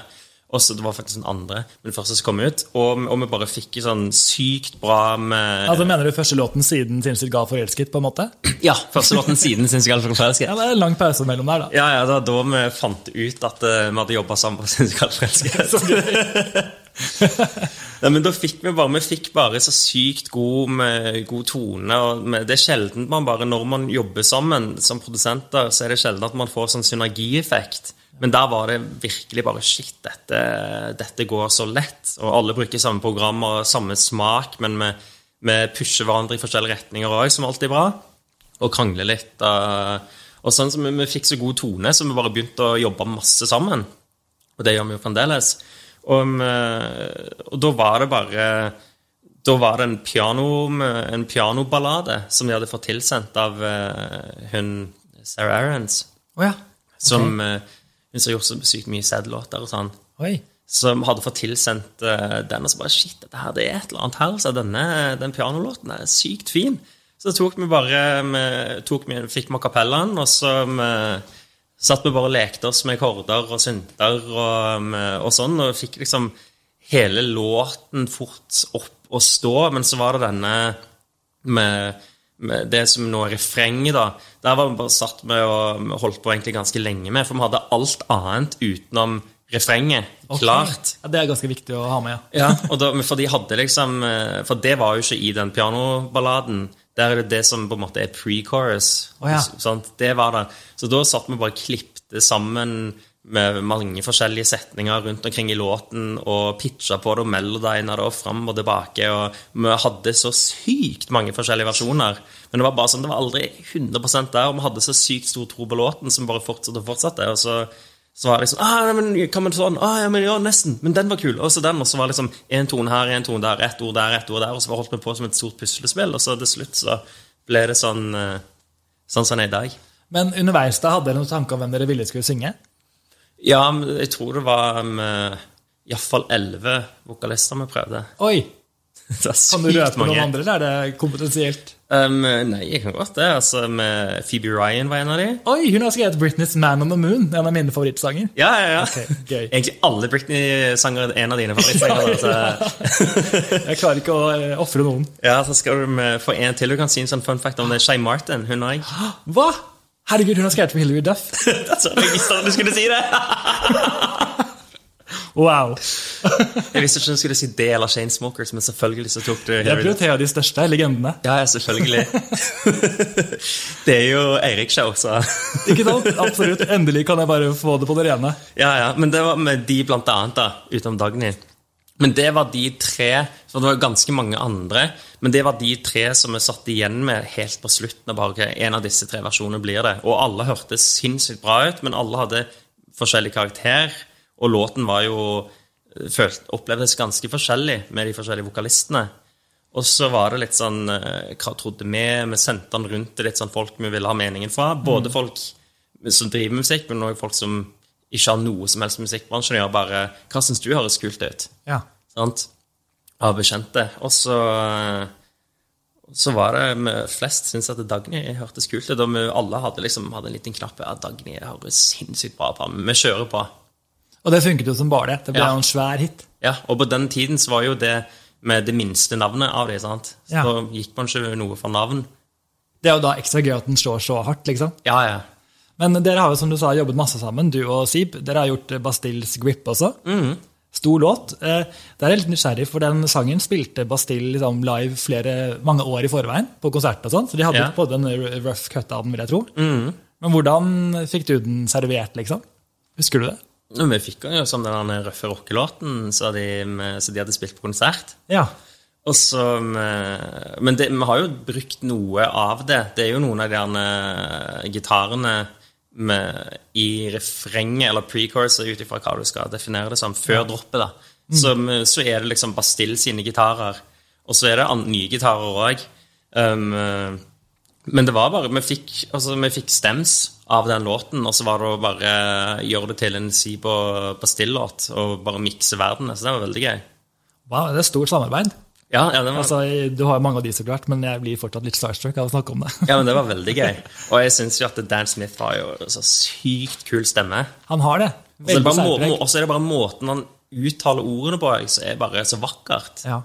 Og så Det var faktisk den andre, men den første som kom ut. Og, og vi bare fikk en sånn sykt bra med altså, mener du første låten siden Sinnssykt gal forelsket? på en måte? Ja, første låten siden syns jeg Alfred Forelsket. Ja, Det er en lang pause mellom der, da. Ja, ja, da, da vi fant ut at eh, vi hadde jobba sammen på Syns jeg Forelsket. Nei, men da fikk vi bare, vi fikk bare så sykt god, med, god tone. Og med, det er sjelden man bare, når man jobber sammen som produsenter, så er det sjelden at man får sånn synergieffekt. Men der var det virkelig bare Shit, dette, dette går så lett. Og alle bruker samme programmer og samme smak, men vi, vi pusher hverandre i forskjellige retninger òg, som alltid er bra og krangle litt. eh, og sånn som vi, vi fikk så god tone, så vi bare begynte å jobbe masse sammen. Og det gjør vi jo fremdeles. Og, eh, og da var det bare Da var det en, piano, en pianoballade som vi hadde fått tilsendt av eh, hun Sarah Aarons. Å ja. Som, eh, Hun som har gjort så sykt mye sad-låter og sånn Oi. som hadde fått tilsendt altså. eh, den, og så bare Shit, dette her, det er et eller annet her. Så denne, den pianolåten er sykt fin. Så tok vi bare vi tok, vi, Fikk vi kapellaen, og så vi, satt vi bare og lekte oss med korder og synter og, og sånn. Og fikk liksom hele låten fort opp å stå. Men så var det denne med, med det som nå er refrenget, da. Der var vi bare satt med og holdt på egentlig ganske lenge med, for vi hadde alt annet utenom refrenget klart. Ja, det er ganske viktig å ha med, ja. Ja, og da, men for de hadde liksom eh, For det var jo ikke i den pianoballaden. Der er det det som på en måte er pre-chorus. Å ja. s- sant? Det var det. Så da satt vi bare og klippte sammen med mange forskjellige setninger rundt omkring i låten og pitcha på det og melodina det og fram og tilbake. Og vi hadde så sykt mange forskjellige versjoner. Men det var bare sånn, det var aldri 100 der, og vi hadde så sykt stor tro på låten som bare fortsatte og fortsatte. og så så var det liksom ah, nei, men, kan man sånn, ah, ja, men, ja, nesten, men den var kul. Og så den, og så var det liksom en tone her, en tone der, ett ord der, ett ord der. Og så bare holdt vi på som et stort puslespill, og så til slutt så ble det sånn eh, sånn som det er i dag. Men underveis da hadde dere noen tanke om hvem dere ville skulle synge? Ja, men jeg tror det var um, iallfall elleve vokalister vi prøvde. Oi! Det er Kan du sykt røpe mange. noen andre, eller er det kompetensielt? Um, nei, jeg kan godt det. Altså, med Phoebe Ryan var en av de. Oi, hun har skrevet Britneys 'Man on the Moon', en av mine favorittsanger. Ja, ja, ja. Ok, gøy. Egentlig alle Britney-sanger er en av dine favorittsanger. altså. Jeg klarer ikke å eh, ofre noen. Ja, så skal du med- få en til. Du kan si en sånn fun fact om det. Shay Martin, hun og jeg. Hva?! Herregud, hun har skrevet for Hilary Duff. Altså, jeg visste at du skulle si det! Wow. Jeg visste ikke om du skulle si det eller Chainsmokers, men selvfølgelig så tok du Jeg Harry. prioriterer de største legendene. Ja, ja, selvfølgelig. det er jo Eirik Show, så Ikke sant? Absolutt. Endelig kan jeg bare få det på det rene. Ja, ja, men det var med de blant annet da, utenom Dagny. Men det var de tre, for det var jo ganske mange andre, men det var de tre som vi satt igjen med helt på slutten av bare, ok, en av disse tre versjonene blir det. Og alle hørte sinnssykt bra ut, men alle hadde forskjellig karakter, og låten var jo, eh, følt, opplevdes ganske forskjellig med de forskjellige vokalistene. Og så var det litt sånn eh, Hva trodde vi? Vi sendte den rundt til litt sånn folk vi ville ha meningen fra. Både folk som driver med musikk, men også folk som ikke har noe som helst med musikkbransjen å gjøre. Bare Hva syns du høres kult ut? Ja. Sant? Av bekjente. Og så eh, så var det med flest syntes at Dagny hørtes kult ut. Og vi alle hadde liksom hadde en liten knapp at Dagny høres sinnssykt bra på. Vi kjører på. Og det funket jo som bare det. Det ble Ja. jo en svær hit. Ja, og på den tiden så var jo det med det minste navnet av det, sant? Så Ja. gikk man ikke noe for navn. Det er jo da ekstra gøy at den slår så hardt, liksom. Ja, ja. Men dere har jo, som du sa, jobbet masse sammen, du og Sib. Dere har gjort eh, Bastilles Grip også. Mhm. Stor låt. Eh, Det er jeg litt nysgjerrig, for den sangen spilte Bastille liksom, live flere, mange år i forveien, på konserter og sånn, så de hadde Ja. Mhm. på den rough cut av den, vil jeg tro. Men hvordan fikk du den servert, liksom? Husker du det? Men vi fikk den jo som den der røffe rockelåten så, de- så de hadde spilt på konsert. Ja. Og så, eh, men det, vi har jo brukt noe av det. Det er jo noen av de der eh, gitarene med, i refrenget, eller pre-courset, ut ifra hva du skal definere det som, før droppet. da. Så, vi- så er det liksom Bastille sine gitarer. Og så er det an- nye gitarer òg. Men det var bare, vi fikk, altså, vi fikk stems av den låten, og så var det å bare gjøre det til en Sibo Bastille-låt, og bare mikse verdenen. Så det var veldig gøy. Wow, det er stort samarbeid. Ja, ja, det var, Altså, du har jo mange av de, så klart, men jeg blir fortsatt litt starstruck av å snakke om det. ja, men det var veldig gøy. Og jeg syns jo at Dan Smith har jo så sykt kul stemme. Han har det. Og så er det bare må- særpreg. må- og så er det bare måten han uttaler ordene på, jeg, så er bare så vakkert. Ja.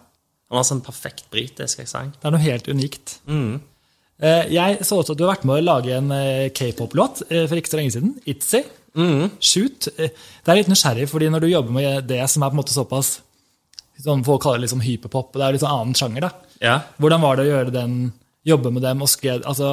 Han har sånn perfekt britisk aksent. Det er noe helt unikt. Eh, Jeg så også at du har vært med å lage en eh, k-pop-låt eh, for ikke så lenge siden. Itzy. Shoot. Eh, Det er litt nysgjerrig, fordi når du jobber med det som er på en måte såpass som folk kaller det liksom hyperpop, det er jo litt sånn annen sjanger, da. Ja. Hvordan var det å gjøre den, jobbe med dem og skre... Altså,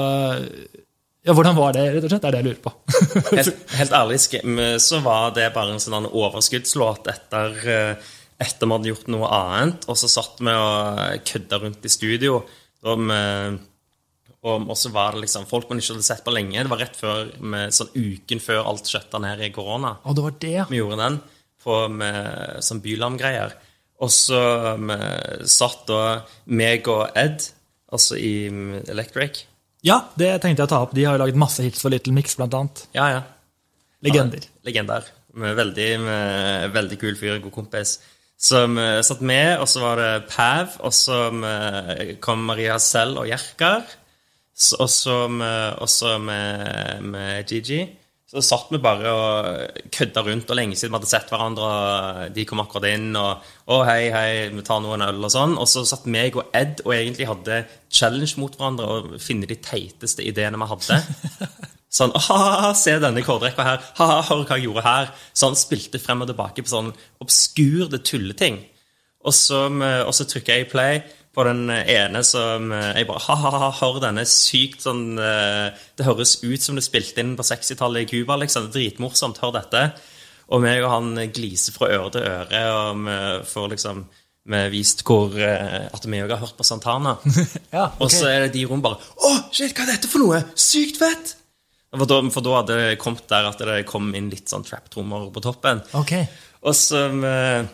ja, hvordan var det, rett og slett? Det er det jeg lurer på. helt, helt ærlig sk- men så var det bare en sånn overskuddslåt etter eh, etter vi hadde gjort noe annet. Og så satt vi og kødda rundt i studio. Og, vi- og, og så var det liksom folk man ikke hadde sett på lenge. Det var rett før, vi- sånn uken før alt skjøtta ned i korona. Å, det var det, ja. Vi gjorde den på, med sånn bylamgreier. Og så vi satt da meg og Ed, altså i mm, Electric. Ja, det tenkte jeg å ta opp. De har jo laget masse hits for Little Mix, blant annet. Ja, ja. Legender. Ja, legender. Med veldig, med veldig kul fyr, god kompis. Som eh, satt med, og så var det Pav, og så eh, kom Maria selv og Jerkar. Så- Og så med, også med, med Gigi. Så satt vi bare og eh, kødda rundt, og lenge siden vi hadde sett hverandre. og De kom akkurat inn, og 'Å, hei, hei, vi tar noen øl', og sånn. Og så satt meg og Ed og egentlig hadde challenge mot hverandre og finne de teiteste ideene vi hadde. Sånn «Haha, se denne kårdrekka her. Haha, hør hva jeg gjorde her. Så han spilte frem og tilbake på sånn obskurde tulleting. Og så, med- og så trykker jeg play på den ene som eh, jeg bare «Haha, hør denne sykt sånn eh, Det høres ut som det spilte inn på 60-tallet i Cuba, liksom. Dritmorsomt. Hør dette. Og meg og han eh, gliser fra øre til øre, og vi får liksom vi har vist hvor, eh, at vi òg har hørt på Santana. Ja, ok. Og så er det de i rommet bare Å, shit, hva er dette for noe? Sykt fett! For da, for da hadde det kommet der at det kom inn litt sånn trap-trommer på toppen. Ok. Og så, eh,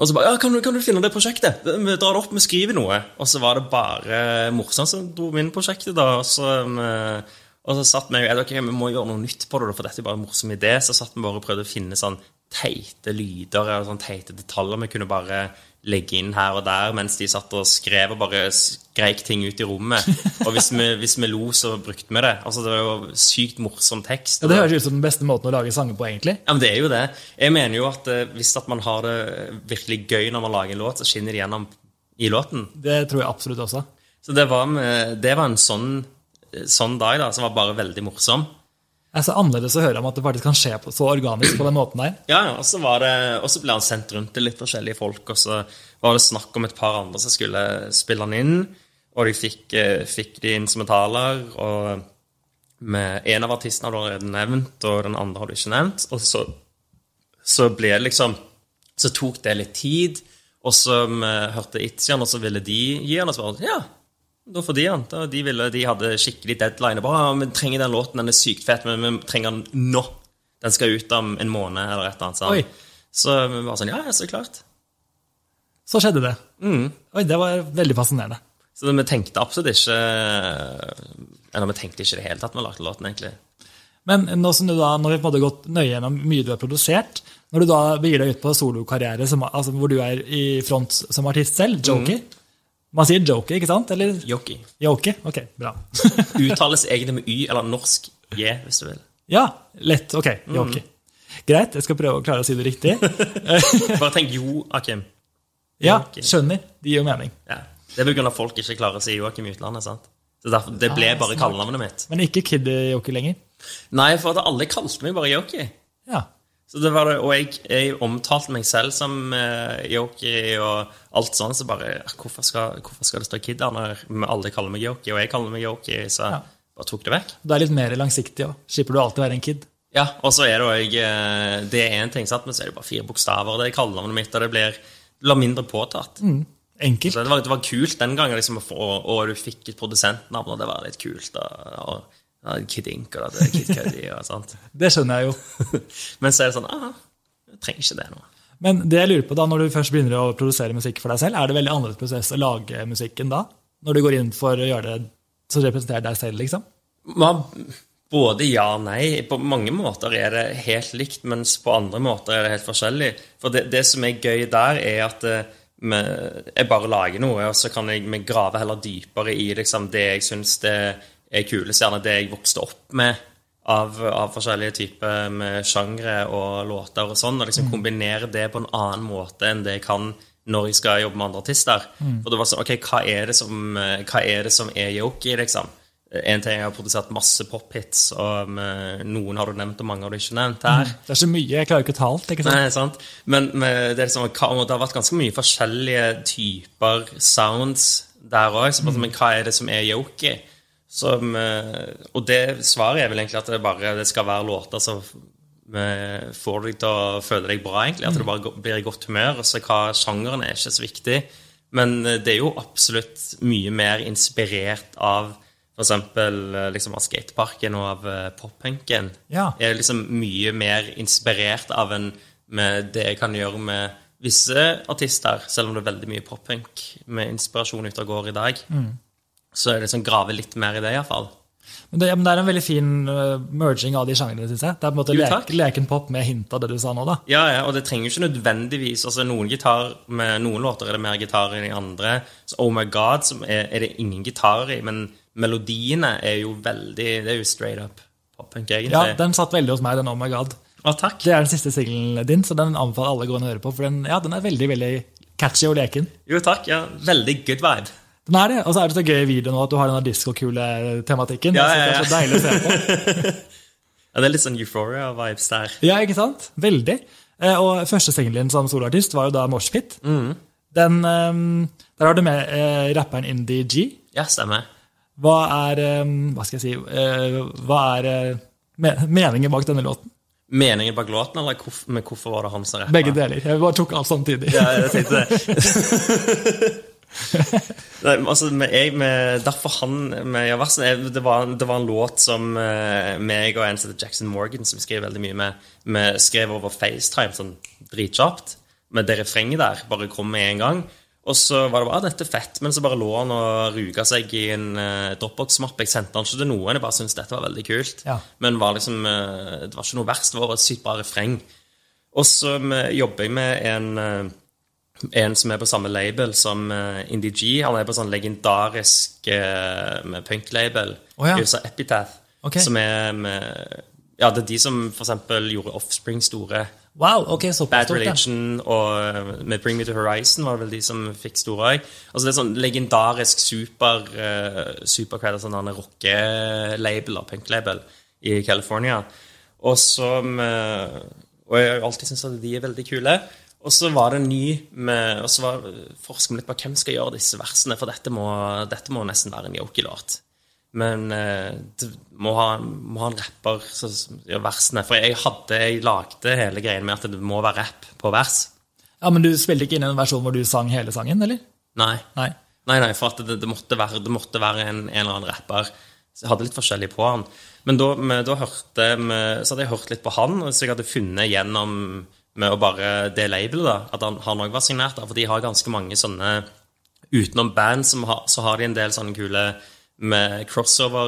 og så bare ja, kan, du, 'Kan du finne det prosjektet?' Vi drar det opp, vi skriver noe. Og så var det bare morsomt som dro meg inn i prosjektet. da, Og så, eh, og så satt vi og ok, vi må gjøre noe nytt på det, da, for dette er bare en morsom idé. Så satt vi bare og prøvde å finne sånn teite lyder og sånn teite detaljer vi kunne bare legge inn her og der, mens de satt og skrev og bare skreik ting ut i rommet. Og hvis vi, hvis vi lo, så brukte vi det. Altså, Det var jo sykt morsom tekst. Ja, det høres ut som den beste måten å lage sanger på, egentlig. Ja, men det er jo det. Jeg mener jo at eh, hvis at man har det eh, virkelig gøy når man lager en låt, så skinner det gjennom i låten. Det tror jeg absolutt også. Så det var, med, det var en sånn, sånn dag da, som var bare veldig morsom. Det er så annerledes å høre om at det faktisk kan skje på, så organisk på den måten der. Ja, ja, og så var det- og så ble han sendt rundt til litt forskjellige folk, og så var det snakk om et par andre som skulle spille han inn, og de fikk, eh, fikk de instrumentaler, og med en av artistene har du allerede nevnt, og den andre har du ikke nevnt, og så, så ble det liksom, så tok det litt tid, og så eh, hørte Itzian, og så ville de gi han, og så var det, ja, da får de han. Da, de, ville, de hadde skikkelig deadline. Bare, ja, vi trenger den låten, den er sykt fett, men vi trenger den nå. Den skal ut om en måned eller et eller annet. Oi. Sånn. Så vi var sånn, ja, ja, så klart. Så skjedde det. Oi, det var veldig fascinerende. Så vi tenkte absolutt ikke Eller vi tenkte ikke i det hele tatt vi lagde låten, egentlig. Men nå som du da, når vi på en måte har gått nøye gjennom mye du har produsert, når du da begir deg ut på solokarriere, som- altså hvor du er i front som artist selv, Joker Man sier Joker, ikke sant? Eller Yoki. Joker? Ok, bra. Uttales egentlig med Y, eller norsk J, hvis du vil. Ja, lett. Ok, Joker. Greit, jeg skal prøve å klare å si det riktig. Bare tenk Jo, Akim. Ja, Joker. skjønner. Det gir jo mening. Ja. Det er pga. at folk ikke klarer å si Joakim i utlandet. sant? Så derfor, Det ble Ja, bare Ah, smart. kallenavnet mitt. Men ikke Kid Joker lenger. Nei, for at alle kalte meg bare Yoki. Ja. Så det var det, Og jeg, jeg omtalte meg selv som eh, Yoki og alt sånn, så bare "Ah, Hvorfor skal, hvorfor skal det stå Kid der når alle kaller meg Yoki, og jeg kaller meg Yoki? Så jeg Ja. bare tok det vekk. Du er litt mer langsiktig òg. Slipper du alltid være en kid. Ja, Og så er det òg eh, Det er én ting, sant? men så er det bare fire bokstaver. Det er kallenavnet mitt, og det blir det blir mindre påtatt. Enkelt. Så det var, det var kult den gangen, liksom, å få, og du fikk et produsentnavn, og det var litt kult. da, og, ja, Kid Ink og det, Kid Cudi og sånt. Det skjønner jeg jo. Men så er det sånn ah, Jeg trenger ikke det nå. Men det jeg lurer på da, når du først begynner å produsere musikk for deg selv, er det veldig annerledes prosess å lage musikken da? Når du går inn for å gjøre det som representerer deg selv, liksom? Man, både ja og nei. På mange måter er det helt likt, mens på andre måter er det helt forskjellig. For det, det som er gøy der, er at eh, med, jeg bare lager noe, og så kan jeg vi grave heller dypere i liksom, det jeg syns er kulest, gjerne det jeg vokste opp med. Av, av forskjellige typer med sjangre og låter og sånn, og liksom kombinere det på en annen måte enn det jeg kan når jeg skal jobbe med andre artister. For det var sånn, ok, hva er det som, eh, hva er, det som er yoki, liksom? En ting jeg har produsert masse pophits, og um, noen har du nevnt, og mange har du ikke nevnt her. Det er så mye, jeg klarer ikke å ta alt, ikke sant? Nei, sant? Men men det, er liksom, hva- og det har vært ganske mye forskjellige typer sounds der òg. sånn, Men hva er det som er yoki? Som, eh, og det svaret er vel egentlig at det bare det skal være låter som eh, får deg til å føle deg bra, egentlig. At du bare go- blir i godt humør. Og så hva sjangeren er, er ikke så viktig. Men eh, det er jo absolutt mye mer inspirert av f.eks. Liksom, av skateparken og av eh, poppunken Ja. er liksom mye mer inspirert av en, med det jeg kan gjøre med visse artister, selv om det er veldig mye poppunk med inspirasjon ute og går i dag. Mm. Så jeg liksom graver litt mer i det, iallfall. Men det, ja, men det er en veldig fin eh, merging av de sjangrene, syns jeg. Det er på en måte Jo, lek, takk. leken pop med hint av det du sa nå, da. Ja, ja, og det trenger jo ikke nødvendigvis altså Noen gitar, med noen låter er det mer gitar enn i andre. Så Oh My God som er, er det ingen gitar i, men melodiene er jo veldig Det er jo straight up poppunk, egentlig. Ja, Den satt veldig hos meg, den Oh My God. Å, takk. Det er den siste singelen din, så den anbefaler alle gående å høre på. For den, ja, den er veldig veldig catchy og leken. Jo, takk. Ja, veldig good vibe. Den er det, Og så er det så gøy i videoen også at du har den diskokule-tematikken. Ja, så det ja, ja. er så deilig å se på. Ja, det er litt sånn Euphoria-vibes der. Ja, ikke sant? Veldig. Eh, Og første singelen din som soloartist var jo da Moshpit. Mm. Den, eh, der har du med eh, rapperen Indie G. Ja, stemmer. Hva er eh, Hva skal jeg si eh, Hva er eh, me meningen bak denne låten? Meningen bak låten, eller hvorf med hvorfor var det han som rappa? Begge deler. Jeg bare tok alt samtidig. Ja, jeg tenkte det. Nei, men altså, men jeg, med, derfor han med Javarsen jeg, det, var, det var en låt som eh, meg og en som heter Jackson Morgan, som vi skrev veldig mye med, vi skrev over FaceTime sånn dritkjapt. Med det refrenget der bare kom med en gang. Og så var det bare ah, 'dette er fett', men så bare lå han og ruga seg i en eh, Dropbox-mappe. Jeg sendte han ikke til noen, jeg bare syntes dette var veldig kult. Ja. Men var liksom, eh, det var ikke noe verst. Det var bare et sykt bra refreng. Og så eh, jobber jeg med en eh, en som er på samme label som eh, Indie G. Han er på sånn legendarisk uh, punk-label. Å ja. i USA, Epitaph. Ok. Som er med Ja, det er de som for eksempel gjorde Offspring store. Wow, ok, så Bad Religion og eh, med Bring Me To Horizon var det vel de som fikk store òg. Altså det er sånn legendarisk super uh, supercred, sånn han er rocke-label og punk-label i California. Og som eh, Og jeg har alltid syntes at de er veldig kule. Og så var det en ny med, Og så var forsker vi litt på hvem skal gjøre disse versene, for dette må, dette må nesten være en yoki-låt. Men eh, det må ha, må ha en rapper som gjør versene. For jeg hadde, jeg lagde hele greien med at det må være rapp på vers. Ja, Men du spilte ikke inn en versjon hvor du sang hele sangen, eller? Nei. Nei. Nei, nei, for at det, det måtte være, det måtte være en, en eller annen rapper. Så jeg hadde litt forskjellig på han. Men da, men da hørte vi- så hadde jeg hørt litt på han, og så jeg hadde funnet gjennom med å bare det labelet da, at han, han også var signert der, for de har ganske mange sånne utenom band som har, så har de en del sånne kule med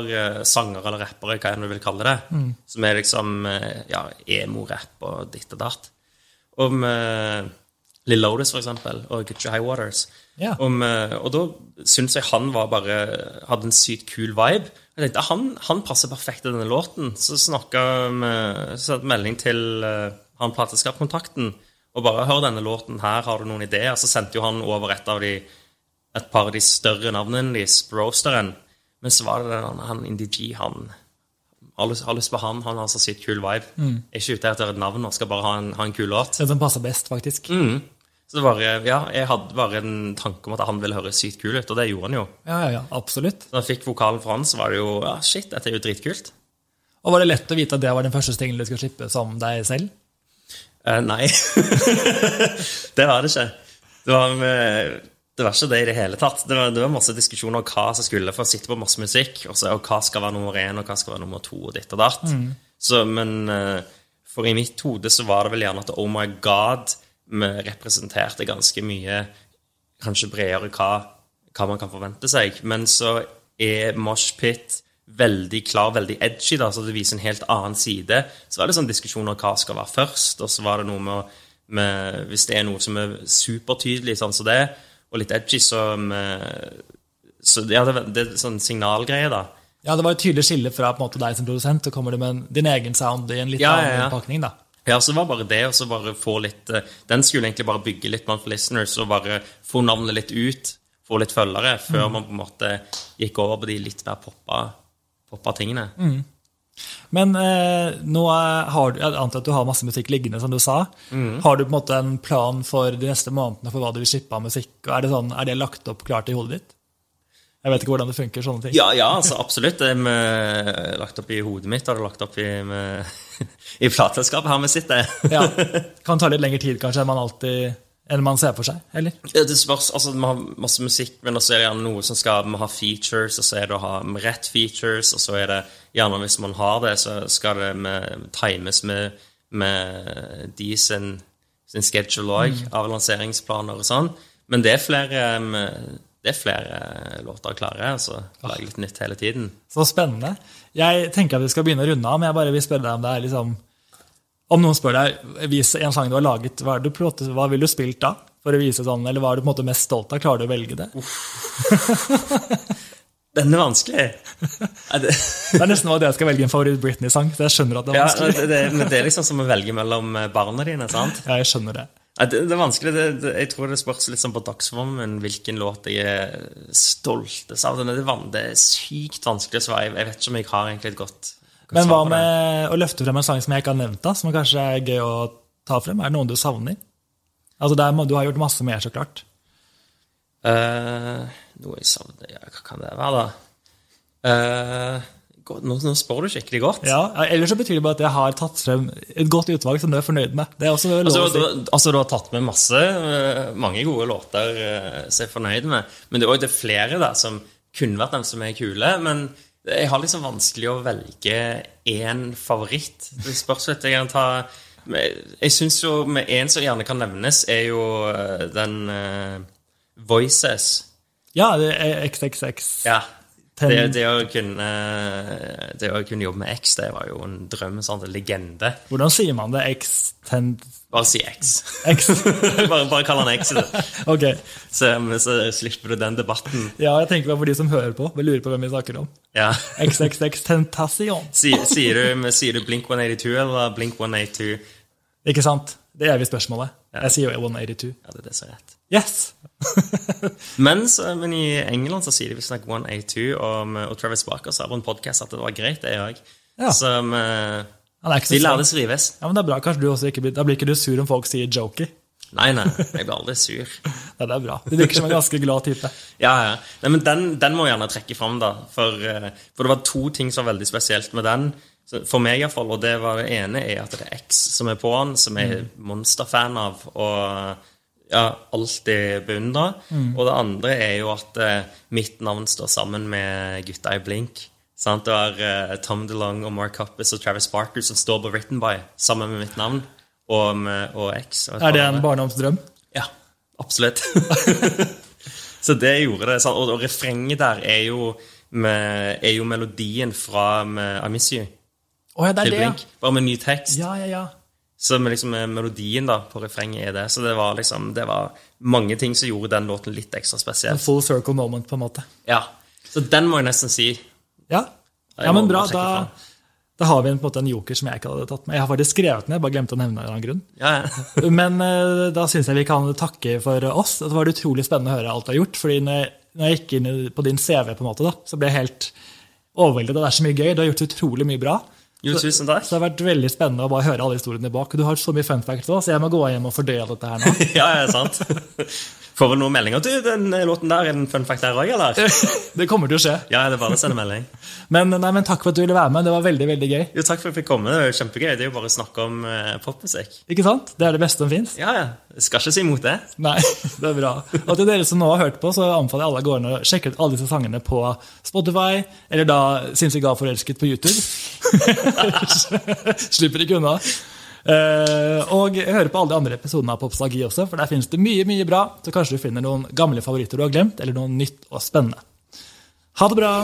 crossover-sanger eller rappere, hva enn du vil kalle det, som er liksom eh, ja, emo-rapp og ditt og datt. Om uh, Lill Lotus, for eksempel, og Gucci High Waters. Ja. Om, eh, og da syns jeg han var bare hadde en sykt kul vibe. Jeg tenkte, "Ah, Han, han passer perfekt til denne låten. Så snakka vi eh, sendte melding til eh, han plateskapkontakten og bare 'Hør denne låten her, har du noen ideer?' Så sendte jo han over et av de et par av de større navnene deres, Roasteren. Men så var det den andre, han Indie G, han har lyst, har lyst på han, han har så sykt kul vibe. Er ikke ute etter et navn og skal bare ha en, ha en kul låt. Den som passer best, faktisk. Mm. Så det bare, ja, jeg hadde bare en tanke om at han ville høres sykt kul ut, og det gjorde han jo. Ja, ja, ja, absolutt. Så da jeg fikk vokalen fra han, så var det jo ja, shit, dette er jo dritkult. Og Var det lett å vite at det var den første singelen du skulle slippe som deg selv? Eh, nei. det var det ikke. Det var, eh, det var ikke det i det hele tatt. Det var, det var masse diskusjoner om hva som skulle, for å sitte på masse musikk, og, så, og hva skal være nummer én, og hva skal være nummer to, og ditt og datt. Så, men eh, for i mitt hode så var det vel gjerne at Oh My God vi representerte ganske mye kanskje bredere hva, hva man kan forvente seg. Men så er Mosh Pit veldig klar, veldig edgy, da, så det viser en helt annen side. Så var det sånn diskusjon om hva skal være først, og så var det noe med, å- med Hvis det er noe som er supertydelig, sånn som det, og litt edgy, så, med, så ja, det, det er sånn signalgreie, da. Ja, Det var et tydelig skille fra på en måte deg som produsent, så kommer du med en- din egen sound i en litt Ja, ja, annen ja. innpakning. da. Ja, så det var bare det, og så bare få litt eh, Den skulle egentlig bare bygge litt blant listeners, og bare få navnet litt ut, få litt følgere, før man på en måte gikk over på de litt mer poppa, poppa tingene. Men eh, nå er- har du, jeg antar at du har masse musikk liggende, som du sa. Mm. Har du på en måte en plan for de neste månedene for hva du vil slippe av musikk? Og er det, sånn, er det lagt opp klart i hodet ditt? Jeg vet ikke hvordan det funker, sånne ting. Ja, ja, altså absolutt. Det er med- eh, lagt opp i hodet mitt, og det er lagt opp i, med- i plateselskapet her vi sitter. Ja. Kan ta litt lengre tid kanskje enn man alltid enn man ser for seg, eller? Ja, Det spørs, altså Vi har masse musikk, men også er det gjerne noe som skal Vi har features, og så er det å ha rett features, og så er det gjerne hvis man har det, så skal det med, times med, med de sin, sin schedule òg, av lanseringsplaner og sånn. Men det er flere, um, det er flere eh, låter klare. altså Lager litt nytt hele tiden. Så spennende. Jeg tenker at vi skal begynne å runde av, men jeg bare vil spørre deg om det er liksom Om noen spør deg vis en sang du har laget, hva, er det du, på en måte- hva vil du spilt da? For å vise sånn, Eller hva er du på en måte mest stolt av? Klarer du å velge det? Den er vanskelig! Ja, det, Det er nesten hva det jeg skal velge en favoritt-Britney-sang. så jeg skjønner at det er ja, vanskelig. det, det, men det er liksom som å velge mellom barna dine. sant? Ja, jeg skjønner det. Ja, det, det er vanskelig. Det, det, jeg tror det spørs litt sånn på dagsformen hvilken låt jeg er stoltest av. Det er, van- det er sykt vanskelig å svare. Jeg- Jeg vet ikke om jeg har egentlig et godt, godt Men hva svar på det. med å løfte frem en sang som jeg ikke har nevnt, da, som kanskje er gøy å ta frem? Er det noen du savner? Altså, der må, Du har gjort masse mer, så klart. Eh, Noe jeg savner ja, Hva kan det være, da? Eh, godt- nå, nå spør du skikkelig godt. Ja, Ellers så betyr det bare at jeg har tatt frem et godt utvalg som du er fornøyd med. Det er også lov Altså, å du, si. altså, du har tatt med masse, eh, mange gode låter eh, som jeg er fornøyd med. Men det er også det er flere der som kunne vært dem som er kule. Men jeg har liksom vanskelig å velge én favoritt. Det spørs litt. Jeg kan ta Jeg syns jo med én som gjerne kan nevnes, er jo eh, den eh, Voices. Ja, det er XXX. Ja. Ten- Det, det, å kunne, eh, det å kunne jobbe med X, det var jo en drøm. en Sånn, en legende. Hvordan sier man det? X10 Bare si X. X? bare, bare kall han X. i det. Ok. Så, men så slipper du den debatten. Ja, jeg tenker bare for de som hører på. Vi lurer på hvem vi snakker om. Ja. XXX Tentacion. Sier, sier, du, men sier du Blink 182 eller Blink 182? Ikke sant? Det er evig spørsmålet. Jeg sier jo 182. Ja, det er det som er rett. Yes! Men, så, men i England så sier de visstnok 182, og, og Travis Barker sa på en podkast at det var greit, det òg. Ja. Så eh, Han er ikke så de svak. lærde skrives. Ja, men det er bra. Kanskje du også ikke blir, da blir ikke du sur om folk sier joker. Nei, nei, jeg blir aldri sur. Ja, det er bra. Du virker som en ganske glad type. Ja, ja. Nei, men den, den må jeg gjerne trekke fram, da. For, eh, for det var to ting som var veldig spesielt med den. Så For meg iallfall. Og det var det ene er at det er X som er på den, som jeg er Mm. monsterfan av. og ja, alltid beundra. Mm. Og det andre er jo at eh, mitt navn står sammen med gutta i Blink. Sant? Du har eh, Tom DeLong og Mark Hoppus og Travis Barker som står på Written By sammen med mitt navn og, med, og X. og et par Er det andre. en barndomsdrøm? Ja, absolutt. så det gjorde det. sant? Og, og refrenget der er jo, med, er jo melodien fra med I Miss You Å ja, det til er det, Blink. Bare med ny tekst. ja. Ja, ja, ja. Så med liksom med melodien da, på refrenget er det. Så det var liksom, det var mange ting som gjorde den låten litt ekstra En spesiell. full circle moment, på en måte. Ja, Så den må jeg nesten si. Ja, Jeg ja må men bra. bare trekke Da, da har vi en, på en, måte, en joker som jeg ikke hadde tatt med. Jeg har faktisk skrevet den, jeg bare glemte å nevne den av en grunn. Ja, ja. Men eh, da syns jeg vi kan takke for oss. Det var utrolig spennende å høre alt du har gjort. fordi når jeg- når jeg gikk inn i- på din CV, på en måte, da, så ble jeg helt overveldet. og Det er så mye gøy. Du har gjort utrolig mye bra. Jo, tusen takk. Så det har vært veldig spennende å bare høre alle historiene bak. Du har så mye fun facts også, så jeg må gå hjem og fordøye dette her nå. Ja, ja, sant. Får vel noen meldinger. Du, den eh, låten der, er den fun fact der òg, eller? Det kommer til å skje. Ja, det er bare å sende melding. Men, nei, men takk for at du ville være med. Det var veldig, veldig gøy. Jo, takk for at jeg fikk komme. Det er jo kjempegøy. Det er jo bare å snakke om eh, popmusikk. Ikke sant? Det er det beste som fins. Ja, ja. Jeg skal ikke si imot det. Nei, det er bra. Og til dere som nå har hørt på, så anbefaler jeg alle å gå inn og sjekke ut alle disse sangene på Spotify, eller da Sinnssykt gal forelsket på YouTube. Slipper ikke unna. Eh, og høre på alle de andre episodene av Popsagi også, for der finnes det mye mye bra. Så kanskje du finner noen gamle favoritter du har glemt, eller noe nytt og spennende. Ha det bra!